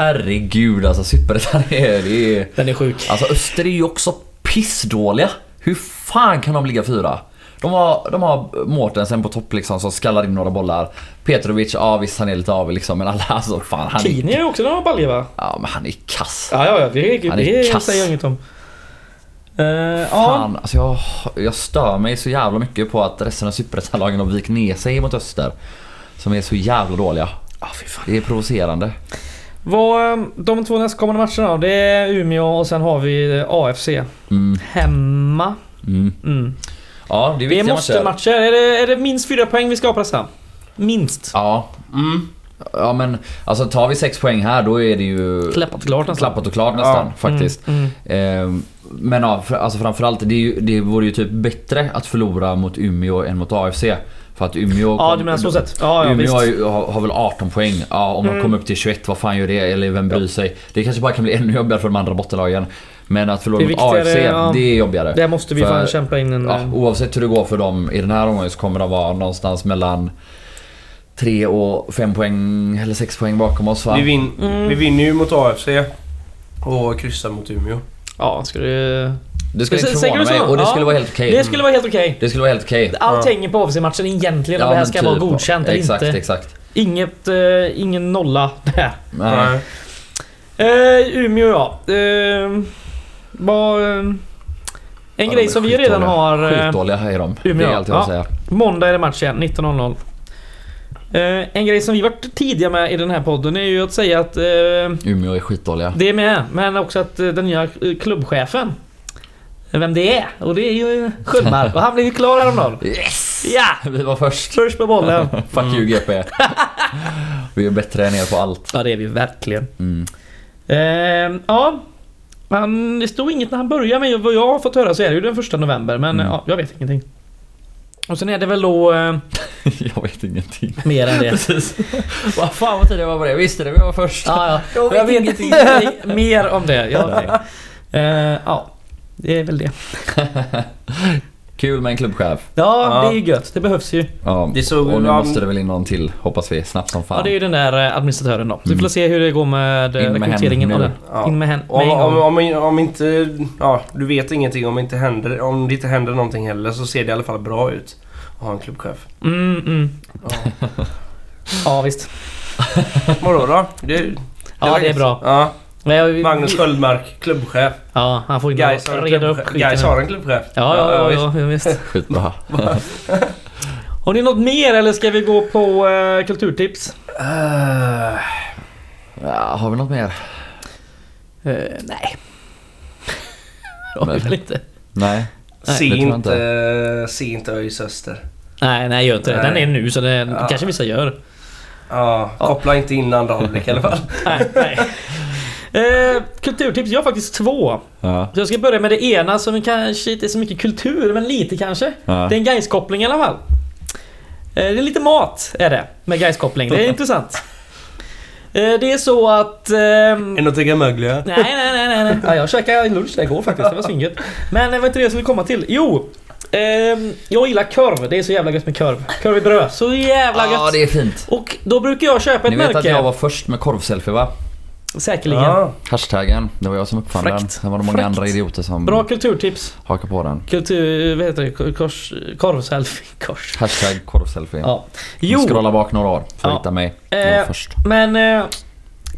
Speaker 2: herregud alltså superettan är... Det är
Speaker 3: Den är sjuk.
Speaker 2: alltså Öster är ju också pissdåliga. Hur fan kan de ligga fyra? De har, de har Mårtensen på topp liksom som skallar in några bollar. Petrovic, ja visst han är lite av liksom men alla alltså fan han
Speaker 3: Kini
Speaker 2: är,
Speaker 3: är också några baljor va?
Speaker 2: ja, men han är kass.
Speaker 3: Ja, ja, ja. Det, det,
Speaker 2: Han är
Speaker 3: det
Speaker 2: kass.
Speaker 3: säger jag inget om. Eh, ja,
Speaker 2: Fan, alltså jag, jag stör mig så jävla mycket på att resten av superettanlagen har vikt ner sig mot Öster. Som är så jävla dåliga.
Speaker 3: ah, fy fan.
Speaker 2: Det är provocerande.
Speaker 3: Vad, eh, de två nästkommande matcherna då? Det är Umeå och sen har vi eh, AFC.
Speaker 2: Mm,
Speaker 3: Hemma.
Speaker 2: mm.
Speaker 3: Mm.
Speaker 2: Ja, det är
Speaker 3: Det är
Speaker 2: viktiga
Speaker 3: måste-matcher.
Speaker 2: matcher.
Speaker 3: Är det, är det minst fyra poäng vi ska pressa? Minst.
Speaker 2: Ja,
Speaker 1: Mm.
Speaker 2: ja men alltså tar vi sex poäng här då är det ju
Speaker 3: Klappat klart nästan.
Speaker 2: klappat och klart nästan
Speaker 1: Ja.
Speaker 2: faktiskt.
Speaker 3: Mm, mm.
Speaker 2: Ehm, Men ja, fr- alltså framförallt det, är ju, det vore ju typ bättre att förlora mot Umeå än mot AFC. För att Umeå...
Speaker 3: Ja,
Speaker 2: kom-
Speaker 3: du menar så sett. Ja, ja,
Speaker 2: Umeå
Speaker 3: visst. Mm.
Speaker 2: har, ju- har, har väl 18 poäng. Ja, om de kommer upp till 21, vad fan gör det? Eller vem bryr sig? Det kanske bara kan bli ännu jobbigare för de andra bottenlagen. Men att
Speaker 3: Det
Speaker 2: förlora
Speaker 3: är
Speaker 2: mot AFC,
Speaker 3: viktigare, ja.
Speaker 2: det är jobbigare.
Speaker 3: Där måste vi
Speaker 2: För-
Speaker 3: fan kämpa in en...
Speaker 2: Ja,
Speaker 3: eh,
Speaker 2: oavsett hur det går för dem i den här omgången så kommer de vara någonstans mellan 3 och 5 poäng eller 6 poäng bakom oss va?
Speaker 1: Vi, vin,
Speaker 3: Mm.
Speaker 1: vi vinner ju mot AFC och kryssar mot Umeå.
Speaker 3: Ja, ska det...
Speaker 2: Det skulle
Speaker 3: Precis,
Speaker 2: inte
Speaker 3: säger
Speaker 2: förvåna
Speaker 3: du så?
Speaker 2: mig och det
Speaker 3: Ja.
Speaker 2: skulle vara helt okej.
Speaker 3: Det skulle vara helt okej.
Speaker 2: Det skulle vara helt okej.
Speaker 3: Allt
Speaker 1: Ja.
Speaker 3: hänger på AFC-matchen egentligen om
Speaker 2: Ja,
Speaker 3: det här
Speaker 2: men
Speaker 3: ska vara
Speaker 2: typ.
Speaker 3: godkänt eller
Speaker 2: exakt,
Speaker 3: inte.
Speaker 2: Exakt,
Speaker 3: Inget, eh, ingen nolla där.
Speaker 2: Nej.
Speaker 1: Nej.
Speaker 3: Eh, Umeå ja. Eh, vad, eh, en
Speaker 2: de
Speaker 3: grej
Speaker 2: är
Speaker 3: som vi redan
Speaker 2: skitdåliga.
Speaker 3: har... Eh,
Speaker 2: Skitdåliga här är de.
Speaker 3: Umeå,
Speaker 2: Det är allt jag
Speaker 3: ja.
Speaker 2: vill säga.
Speaker 3: måndag är det match igen, 19.00. Eh, en grej som vi varit tidiga med i den här podden är ju att säga att eh,
Speaker 2: Umeå är skitdåliga.
Speaker 3: Det är med, men också att eh, den nya eh, klubbchefen Vem det är, och det är ju Sköldmark och han blev ju klar häromdagen
Speaker 2: Yes!
Speaker 3: Ja! Mm.
Speaker 2: Vi var först.
Speaker 3: Först med bollen
Speaker 2: Fuck you GP. Vi är bättre än er på allt.
Speaker 3: Ja det är vi verkligen
Speaker 2: Mm.
Speaker 3: eh, Ja han, Det stod inget när han började men vad jag har fått höra så är det ju den första november men
Speaker 2: Mm.
Speaker 3: eh, ja, jag vet ingenting Och sen är det väl då eh,
Speaker 2: Jag vet ingenting.
Speaker 3: mer än det
Speaker 2: Precis. Vad fan vad tidigt jag var på det. Visste det, vi var först.
Speaker 3: Ja, ja.
Speaker 2: Jag vet
Speaker 3: Jag vet
Speaker 2: ingenting.
Speaker 3: inte mer om det ja, nej. eh, ja, det är väl det
Speaker 2: Kul med en klubbchef.
Speaker 3: Ja,
Speaker 1: Ja.
Speaker 3: det är ju gött, det behövs ju
Speaker 2: Ja,
Speaker 1: Det såg-
Speaker 2: och nu
Speaker 1: ja,
Speaker 2: måste det väl in någon till hoppas vi. Snabbt som fan.
Speaker 3: Ja, det är ju den där eh, administratören då. Vi får
Speaker 2: Mm.
Speaker 3: se hur det går med eh,
Speaker 2: In med
Speaker 3: rekryteringen
Speaker 2: henne
Speaker 3: av
Speaker 2: nu.
Speaker 3: den.
Speaker 1: Ja.
Speaker 3: In med henne.
Speaker 1: Om,
Speaker 3: Med en
Speaker 1: om,
Speaker 3: gång.
Speaker 1: om, om inte... Ja, du vet ingenting om, inte händer, om det inte händer någonting heller så ser det i alla fall bra ut att ha en klubbchef.
Speaker 3: Mm, mm.
Speaker 1: Ja.
Speaker 3: Ja, visst.
Speaker 1: Vadå då? Det,
Speaker 3: Ja,
Speaker 1: var
Speaker 3: det är
Speaker 1: gött.
Speaker 3: bra.
Speaker 1: Ja.
Speaker 3: Men jag-
Speaker 1: Magnus Sköldmark, klubbchef.
Speaker 3: Ja, han får inte
Speaker 1: Gais har, en
Speaker 3: reda upp
Speaker 1: klubbchef.
Speaker 3: skiten.
Speaker 1: Gais
Speaker 3: nu.
Speaker 1: har en klubbchef.
Speaker 3: Ja, ja, ja, ja, ja, visst.
Speaker 2: Skitbra.
Speaker 3: Har ni något mer eller ska vi gå på eh, kulturtips?
Speaker 1: Eh,
Speaker 2: Ja, har vi något mer?
Speaker 3: Eh, nej. Det har vi
Speaker 2: Men-
Speaker 3: väl inte.
Speaker 2: Nej.
Speaker 1: se,
Speaker 2: det tror jag
Speaker 1: inte, se inte ÖIS Öster.
Speaker 3: Nej, nej gör inte det.
Speaker 1: Nej.
Speaker 3: Den är nu så det
Speaker 1: Ja.
Speaker 3: kanske vissa gör.
Speaker 1: Ja, koppla inte in andra halvlek i alla fall.
Speaker 3: Nej, nej. Eh, kulturtips, jag har faktiskt två.
Speaker 2: Ja.
Speaker 3: Så jag ska börja med det ena som kanske inte är så mycket kultur, men lite kanske.
Speaker 2: Ja.
Speaker 3: Det är en Gais-koppling i alla fall. Eh, Det är lite mat är det med Gais-koppling. Det är intressant. Eh, Det är så att... ehm,
Speaker 1: Är det något jag kan mögla?
Speaker 3: Nej, nej, nej, nej. nej. Ja, jag käkade lunch där igår faktiskt. Det var svingött. Men eh, det var inte det jag skulle komma till. Jo! ehm, jag gillar korv. Det är så jävla gött med korv. Korv i bröd. Så jävla gött.
Speaker 2: Ja, det är fint.
Speaker 3: Och då brukar jag köpa ett
Speaker 2: Ni vet att
Speaker 3: märke.
Speaker 2: jag var först med korvselfie va?
Speaker 3: Säkerligen.
Speaker 1: Ja.
Speaker 2: Hashtaggen. Det var jag som uppfann den.
Speaker 3: Fräckt.
Speaker 2: Sen var det många
Speaker 3: Fräckt.
Speaker 2: andra idioter som
Speaker 3: Bra kulturtips.
Speaker 2: hakade på den.
Speaker 3: Kultur... Vad heter det? Kors... Korvselfie. Kors.
Speaker 2: Hashtag korvselfie.
Speaker 3: Ja.
Speaker 2: Jo.
Speaker 3: Jo!
Speaker 2: Scrolla bak några år för att
Speaker 3: Ja.
Speaker 2: hitta mig. Jag var
Speaker 3: Eh,
Speaker 2: först.
Speaker 3: Men eh,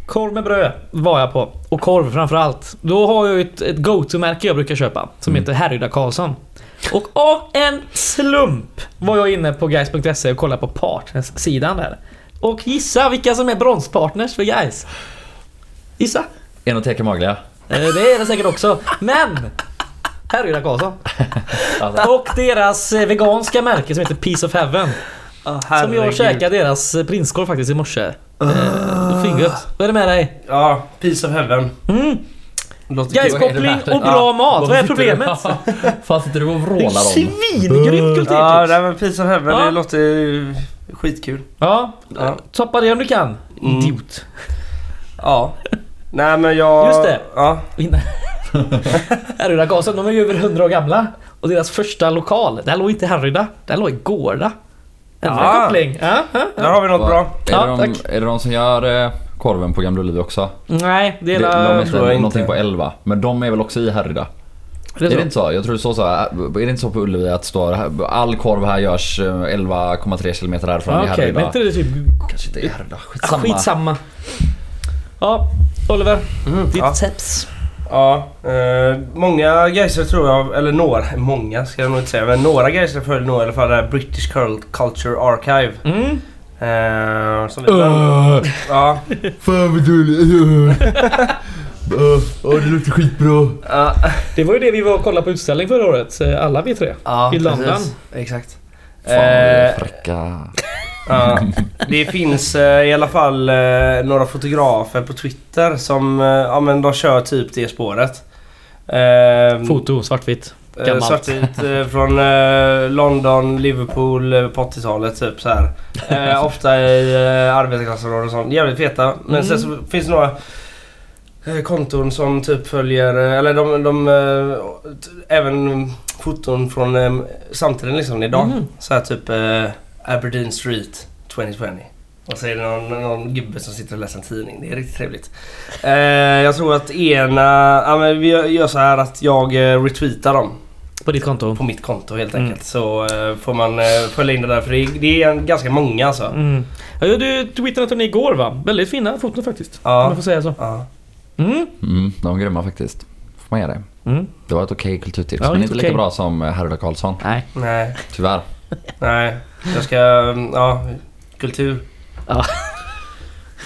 Speaker 3: korv med bröd var jag på. Och korv framförallt. Då har jag ju ett, ett go-to-märke jag brukar köpa. Som heter Härryda Karlsson. Och av en slump var jag inne på guys.se och kollade på partners-sidan där. Och gissa vilka som är bronspartners för guys. Gissa.
Speaker 2: Enoteka Maglia.
Speaker 3: Eh, Det är det säkert också. Men! Härryda Karlsson. Och deras eh, veganska märke som heter Piece of Heaven. Som jag käkade deras eh, prinskorv faktiskt i morse. Uh. Fingret. Vad är det med dig?
Speaker 1: Ja, Peace of Heaven.
Speaker 3: Mm.
Speaker 1: Låter
Speaker 3: Guys,
Speaker 1: kul.
Speaker 2: Vad är det
Speaker 3: koppling
Speaker 2: med dig?
Speaker 3: och bra
Speaker 2: Ja.
Speaker 3: mat. Vad är
Speaker 2: sitter du-
Speaker 3: problemet?
Speaker 2: Fan sitter du och
Speaker 3: Det är
Speaker 2: vrålar om?
Speaker 3: svingrymt
Speaker 1: Ja,
Speaker 3: kulturtips!
Speaker 1: nej, men Peace of Heaven,
Speaker 3: Ja.
Speaker 1: det låter ju skitkul.
Speaker 3: Ja,
Speaker 1: Ja.
Speaker 3: toppa det om du kan.
Speaker 1: Mm.
Speaker 3: Idiot.
Speaker 1: Ja. Nej men jag...
Speaker 3: Just det.
Speaker 1: Ja.
Speaker 3: Här är gasen, de är ju över 100 år gamla. Och deras första lokal, där låg inte Härryda. Där låg Gårda. Ändå
Speaker 1: Ja.
Speaker 3: en koppling. Ja, ja.
Speaker 1: Där har vi något bra.
Speaker 2: Är,
Speaker 3: Ja,
Speaker 2: det de,
Speaker 3: tack.
Speaker 2: är det de som gör eh, korven på Gamla Ullevi också?
Speaker 3: Nej, det är...
Speaker 2: Det, de
Speaker 3: Det,
Speaker 2: heter
Speaker 1: tror jag inte.
Speaker 2: någonting på 11, men de är väl också i Härryda?
Speaker 3: det
Speaker 2: Är
Speaker 3: så?
Speaker 2: det inte så? Jag tror det står så här, eh, är det inte så på Ullevi att det står här, all korv här görs eh, 11,3 km härifrån
Speaker 3: Ja,
Speaker 2: i
Speaker 3: Okej, men
Speaker 2: Härryda.
Speaker 3: inte det typ...
Speaker 2: Kanske inte i Härryda, skitsamma.
Speaker 3: Skitsamma. Skitsamma. Ja, Oliver. Ditt
Speaker 1: ja.
Speaker 3: tips.
Speaker 1: Ja, eh, många Geiser tror jag, eller några, många ska jag nog inte säga, men några Geiser följer nog i alla fall det här British Cul- Culture Archive.
Speaker 3: Mm.
Speaker 1: Eh, som vi bland, ja,
Speaker 2: Fan vad dåligt. Åh, det låter skitbra.
Speaker 1: ja,
Speaker 3: Det var ju det vi var och kollade på utställning förra året, eh, alla vi tre.
Speaker 1: ja,
Speaker 3: I London.
Speaker 1: precis. Exakt.
Speaker 2: Fan vad vi är
Speaker 1: Eh,
Speaker 2: fräcka.
Speaker 1: Ja, det finns eh, i alla fall eh, några fotografer på Twitter som eh, ja, men de kör typ det spåret. Eh,
Speaker 3: Foto, svartvitt.
Speaker 1: eh,
Speaker 3: gammalt.
Speaker 1: Svartvit eh, från eh, London, Liverpool eh, på 80-talet typ så här. Eh, ofta i eh, arbetarklassområden och sånt. Jävligt feta. Men
Speaker 3: Mm.
Speaker 1: sen så finns det några eh, konton som typ följer, eh, eller de, de eh, t- även foton från eh, samtiden liksom idag.
Speaker 3: Mhm.
Speaker 1: Så här typ eh, Aberdeen Street 2020. Och så är det någon, någon gubbe som sitter och läser en tidning. Det är riktigt trevligt. Eh, jag tror att ena... Ja, men vi gör- gör så här att jag eh, retweetar dem
Speaker 3: På ditt konto.
Speaker 1: på mitt konto helt
Speaker 3: Mm.
Speaker 1: enkelt. Så eh, får man eh, följa in det där för det är, det är en- ganska många alltså.
Speaker 3: Mm. Ja, du twittrade till den igår va? Väldigt fina foton faktiskt.
Speaker 1: Ja.
Speaker 3: Om jag får säga så.
Speaker 1: Ja.
Speaker 3: Mm.
Speaker 2: Mm, de är grymma faktiskt. Får man ge det.
Speaker 3: Mm.
Speaker 2: Det var ett okej kulturtips,
Speaker 3: Ja,
Speaker 2: men
Speaker 3: helt
Speaker 2: inte
Speaker 3: okej.
Speaker 2: lika bra som eh, Härryda Karlsson.
Speaker 3: Nej.
Speaker 1: Nej,
Speaker 2: Tyvärr.
Speaker 1: nej. Jag ska... mm, Ja, kultur.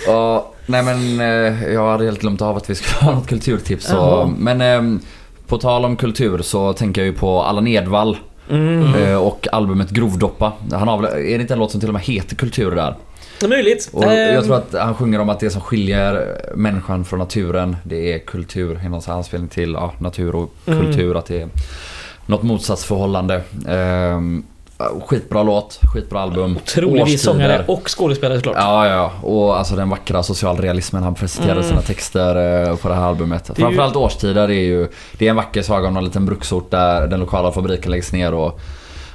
Speaker 2: Ja, nej men eh, jag hade helt glömt av att vi skulle ha något kulturtips. Så,
Speaker 3: Jaha.
Speaker 2: men eh, på tal om kultur så tänker jag ju på Allan Edwall
Speaker 3: Mm.
Speaker 2: eh, och albumet Grovdoppa. Han har väl, är det inte en låt som till och med heter kultur där?
Speaker 3: Det är möjligt.
Speaker 2: Och
Speaker 3: Ehm,
Speaker 2: jag tror att han sjunger om att det som skiljer människan från naturen, det är kultur. I någon sån här anspelning till ja, natur och kultur, att det är något motsatsförhållande. Ehm, skitbra låt, skitbra album.
Speaker 3: Troligtvis
Speaker 2: Årstider.
Speaker 3: sångare och skådespelare såklart.
Speaker 2: Ja, ja. Och alltså den vackra socialrealismen han presenterade i sina texter eh, på det här albumet.
Speaker 3: Mm. ju-
Speaker 2: Framförallt årstider är ju... Det är en vacker saga om någon liten bruksort där den lokala fabriken läggs ner och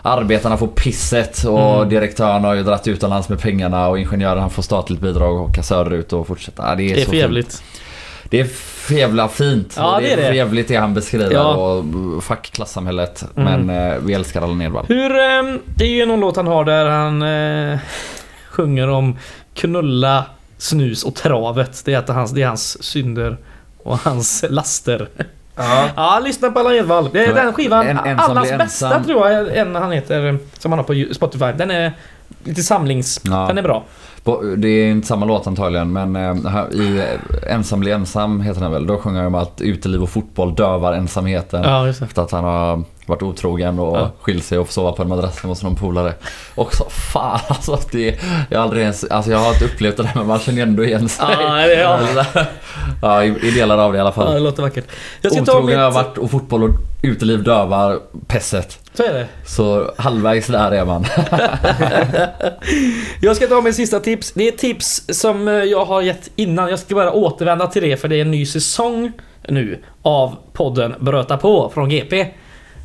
Speaker 2: arbetarna får pisset och
Speaker 3: Mm.
Speaker 2: direktören har ju dratt utomlands med pengarna och ingenjören han får statligt bidrag och åka söderut och fortsätta. Ja, det, är
Speaker 3: Det är
Speaker 2: så
Speaker 3: för jävligt.
Speaker 2: Fint. Det är för jävla fint.
Speaker 3: Ja,
Speaker 2: Och
Speaker 3: det är
Speaker 2: är
Speaker 3: det.
Speaker 2: för jävligt det han beskriver
Speaker 3: Ja.
Speaker 2: och mm, fuck klassamhället.
Speaker 3: Mm.
Speaker 2: Men eh, vi älskar Allan Edwall.
Speaker 3: Hur, ehm, det är ju någon låt han har där han eh, sjunger om knulla, snus och travet. Det är, att hans, det är hans synder och hans laster.
Speaker 1: Ja.
Speaker 3: Ja, lyssna på Allan Edwall. Det är
Speaker 2: Men
Speaker 3: den skivan,
Speaker 2: en ensam
Speaker 3: allas
Speaker 2: blir
Speaker 3: bästa
Speaker 2: ensam.
Speaker 3: tror jag en han heter, som han har på ju- Spotify. Den är lite samlings...
Speaker 2: Ja.
Speaker 3: Den är bra.
Speaker 2: På- Det är inte samma låt antagligen men eh, här i eh, Ensam blir ensam heter den väl. Då sjunger han om att uteliv och fotboll dövar ensamheten.
Speaker 3: Ja, just det.
Speaker 2: Efter att han har varit otrogen och
Speaker 3: Ja.
Speaker 2: skilt sig och får sova på en madrass hemma hos någon polare. Också fan alltså det... Jag har aldrig ens... Alltså jag har inte upplevt det där men man känner ändå igen sig.
Speaker 3: Ja, det är- ja.
Speaker 2: ja i, i delar av det i alla
Speaker 3: Ja, det
Speaker 2: fall.
Speaker 3: låter vackert. Jag ska ta
Speaker 2: Otrogen har jag
Speaker 3: mitt...
Speaker 2: varit och fotboll och uteliv dövar pesset.
Speaker 3: Så är det.
Speaker 2: Så halvvägs där är man.
Speaker 3: Jag ska ta mitt sista tips. Det är tips som eh, jag har gett innan. Jag ska bara återvända till det för det är en ny säsong nu av podden Bröta på från GP.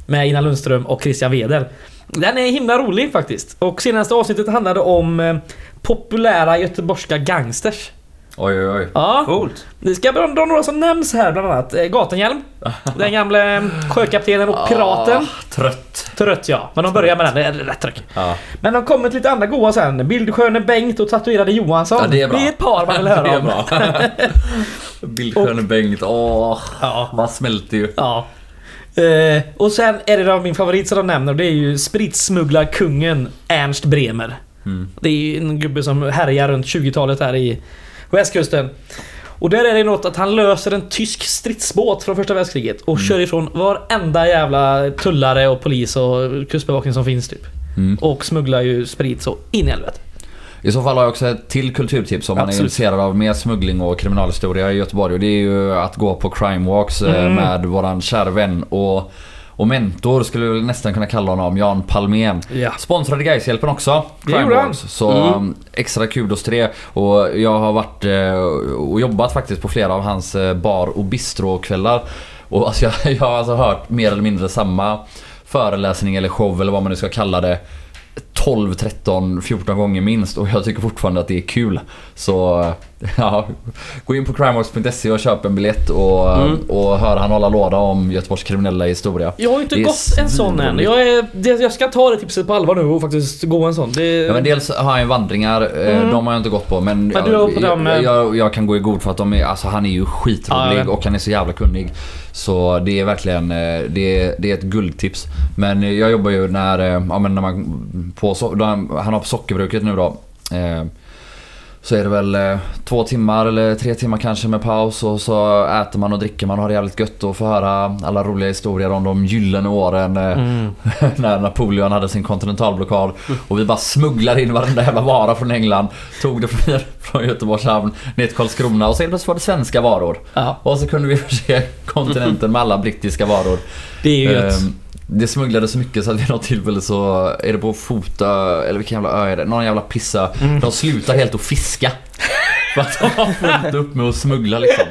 Speaker 3: Med Ina Lundström och Christian Wedel. Den är himla rolig faktiskt. Och senaste avsnittet handlade om eh, populära göteborgska gangsters.
Speaker 2: Oj oj oj.
Speaker 3: Ja,
Speaker 1: Coolt.
Speaker 3: vi ska dra dra några som nämns här bland annat. Eh, Gatenhjelm, den gamle sjökaptenen och piraten.
Speaker 2: Ah, trött.
Speaker 3: Trött ja, men de börjar med den. Det är rätt trött.
Speaker 2: Ja.
Speaker 3: Men de kommer till lite andra goa sen. Bildsköne Bengt och tatuerade Johansson.
Speaker 2: Ja, det är bra.
Speaker 3: ett par man vill höra om.
Speaker 2: Bildsköne Bengt, åh.
Speaker 3: Ja.
Speaker 2: Man smälter ju.
Speaker 3: Ja. Eh, och sen är det då min favorit som de nämner och det är ju spritsmugglarkungen Ernst Bremer.
Speaker 2: Mm.
Speaker 3: Det är ju en gubbe som härjar runt 20-talet här i västkusten. Och där är det något att han löser en tysk stridsbåt från första världskriget och
Speaker 2: Mm.
Speaker 3: kör ifrån varenda jävla tullare och polis och kustbevakning som finns typ.
Speaker 2: Mm.
Speaker 3: Och smugglar ju sprit så in i helvete.
Speaker 2: I så fall har jag också ett till kulturtips om man är
Speaker 3: Absolut.
Speaker 2: intresserad av mer smuggling och kriminalhistoria i Göteborg. Och det är ju att gå på crime walks eh,
Speaker 3: Mm.
Speaker 2: med våran kära vän och, och mentor skulle vi nästan kunna kalla honom, Jan Palmén.
Speaker 3: Ja.
Speaker 2: Sponsrade Gaishjälpen också.
Speaker 3: Det
Speaker 2: Crime
Speaker 3: gjorde han.
Speaker 2: walks. Så
Speaker 3: Mm.
Speaker 2: um, extra kudos till det. Och jag har varit eh, och jobbat faktiskt på flera av hans eh, bar och bistrokvällar. Och alltså jag, jag har alltså hört mer eller mindre samma föreläsning eller show eller vad man nu ska kalla det 12, 13, 14 gånger minst och jag tycker fortfarande att det är kul. Så eh, ja, gå in på crimeworks.se E och köp en biljett och,
Speaker 1: Mm.
Speaker 2: och hör han hålla låda om Göteborgs kriminella historia.
Speaker 3: Jag har ju inte
Speaker 2: Det är
Speaker 3: gått en sån än.
Speaker 2: svinroligt.
Speaker 3: Jag, är, det, jag ska ta det tipset på allvar nu och faktiskt gå en sån. Det,
Speaker 2: Ja, men dels har han ju vandringar, eh,
Speaker 3: Eh, Mm.
Speaker 2: de har jag inte gått på men,
Speaker 3: Men du har
Speaker 2: jag,
Speaker 3: på dem, eh,
Speaker 2: jag, jag, jag kan gå i god för att de är, alltså, han är ju
Speaker 3: Ja,
Speaker 2: skitrolig
Speaker 3: jag vet.
Speaker 2: och han är så jävla kunnig. Så det är verkligen, eh, det är, det är ett guldtips. Men eh, jag jobbar ju när, eh, ja, men när man, på, so- då han han har på sockerbruket nu då. Eh, så är det väl eh, två timmar eller tre timmar kanske med paus och så äter man och dricker man och har det jävligt gött och får höra alla roliga historier om de gyllene åren. eh,
Speaker 3: Mm.
Speaker 2: när Napoleon hade sin kontinentalblockad och vi bara smugglade in varenda jävla vara från England. Tog det från, från Göteborgs hamn ner till Karlskrona och sen plötsligt var det svenska varor.
Speaker 3: Ja,
Speaker 2: Och så kunde vi förse kontinenten med alla brittiska varor.
Speaker 3: det är ju gött.
Speaker 2: Ehm, Det smugglades så mycket så att vid något tillfälle så är det på Fotö, eller vilken jävla ö är det? Någon jävla pissa. De slutar helt att fiska. För att de har fullt upp med att smuggla liksom.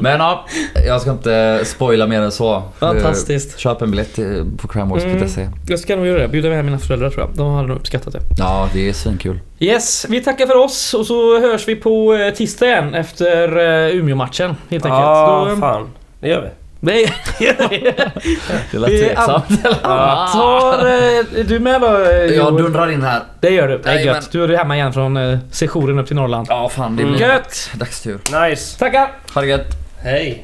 Speaker 2: Men ja, jag ska inte spoila mer än så.
Speaker 3: Fantastiskt.
Speaker 2: Eh, Köp en biljett eh, på crimeworks.se.
Speaker 3: Jag ska nog göra det. Bjuda med hem mina föräldrar tror jag. De hade nog uppskattat det.
Speaker 2: Ja, det är svinkul.
Speaker 3: Yes, vi tackar för oss och så hörs vi på eh, tisdag igen efter eh, Umeå-matchen helt enkelt.
Speaker 1: Ja,
Speaker 3: Då, eh,
Speaker 1: fan. Det gör vi.
Speaker 3: Nej,
Speaker 2: Det lät
Speaker 3: Det är
Speaker 2: tveksamt.
Speaker 3: antar... eh, Du med då? eh,
Speaker 2: Jag
Speaker 3: Joel?
Speaker 2: dundrar in här.
Speaker 3: Det gör du. Det är
Speaker 2: Jajamän.
Speaker 3: gött. Du är hemma igen från eh, sessionen upp till Norrland.
Speaker 2: Mm. Ja, fan det blir
Speaker 3: Gött!
Speaker 2: dags tur.
Speaker 1: Nice.
Speaker 3: Tackar!
Speaker 2: Ha det gött.
Speaker 1: Hej.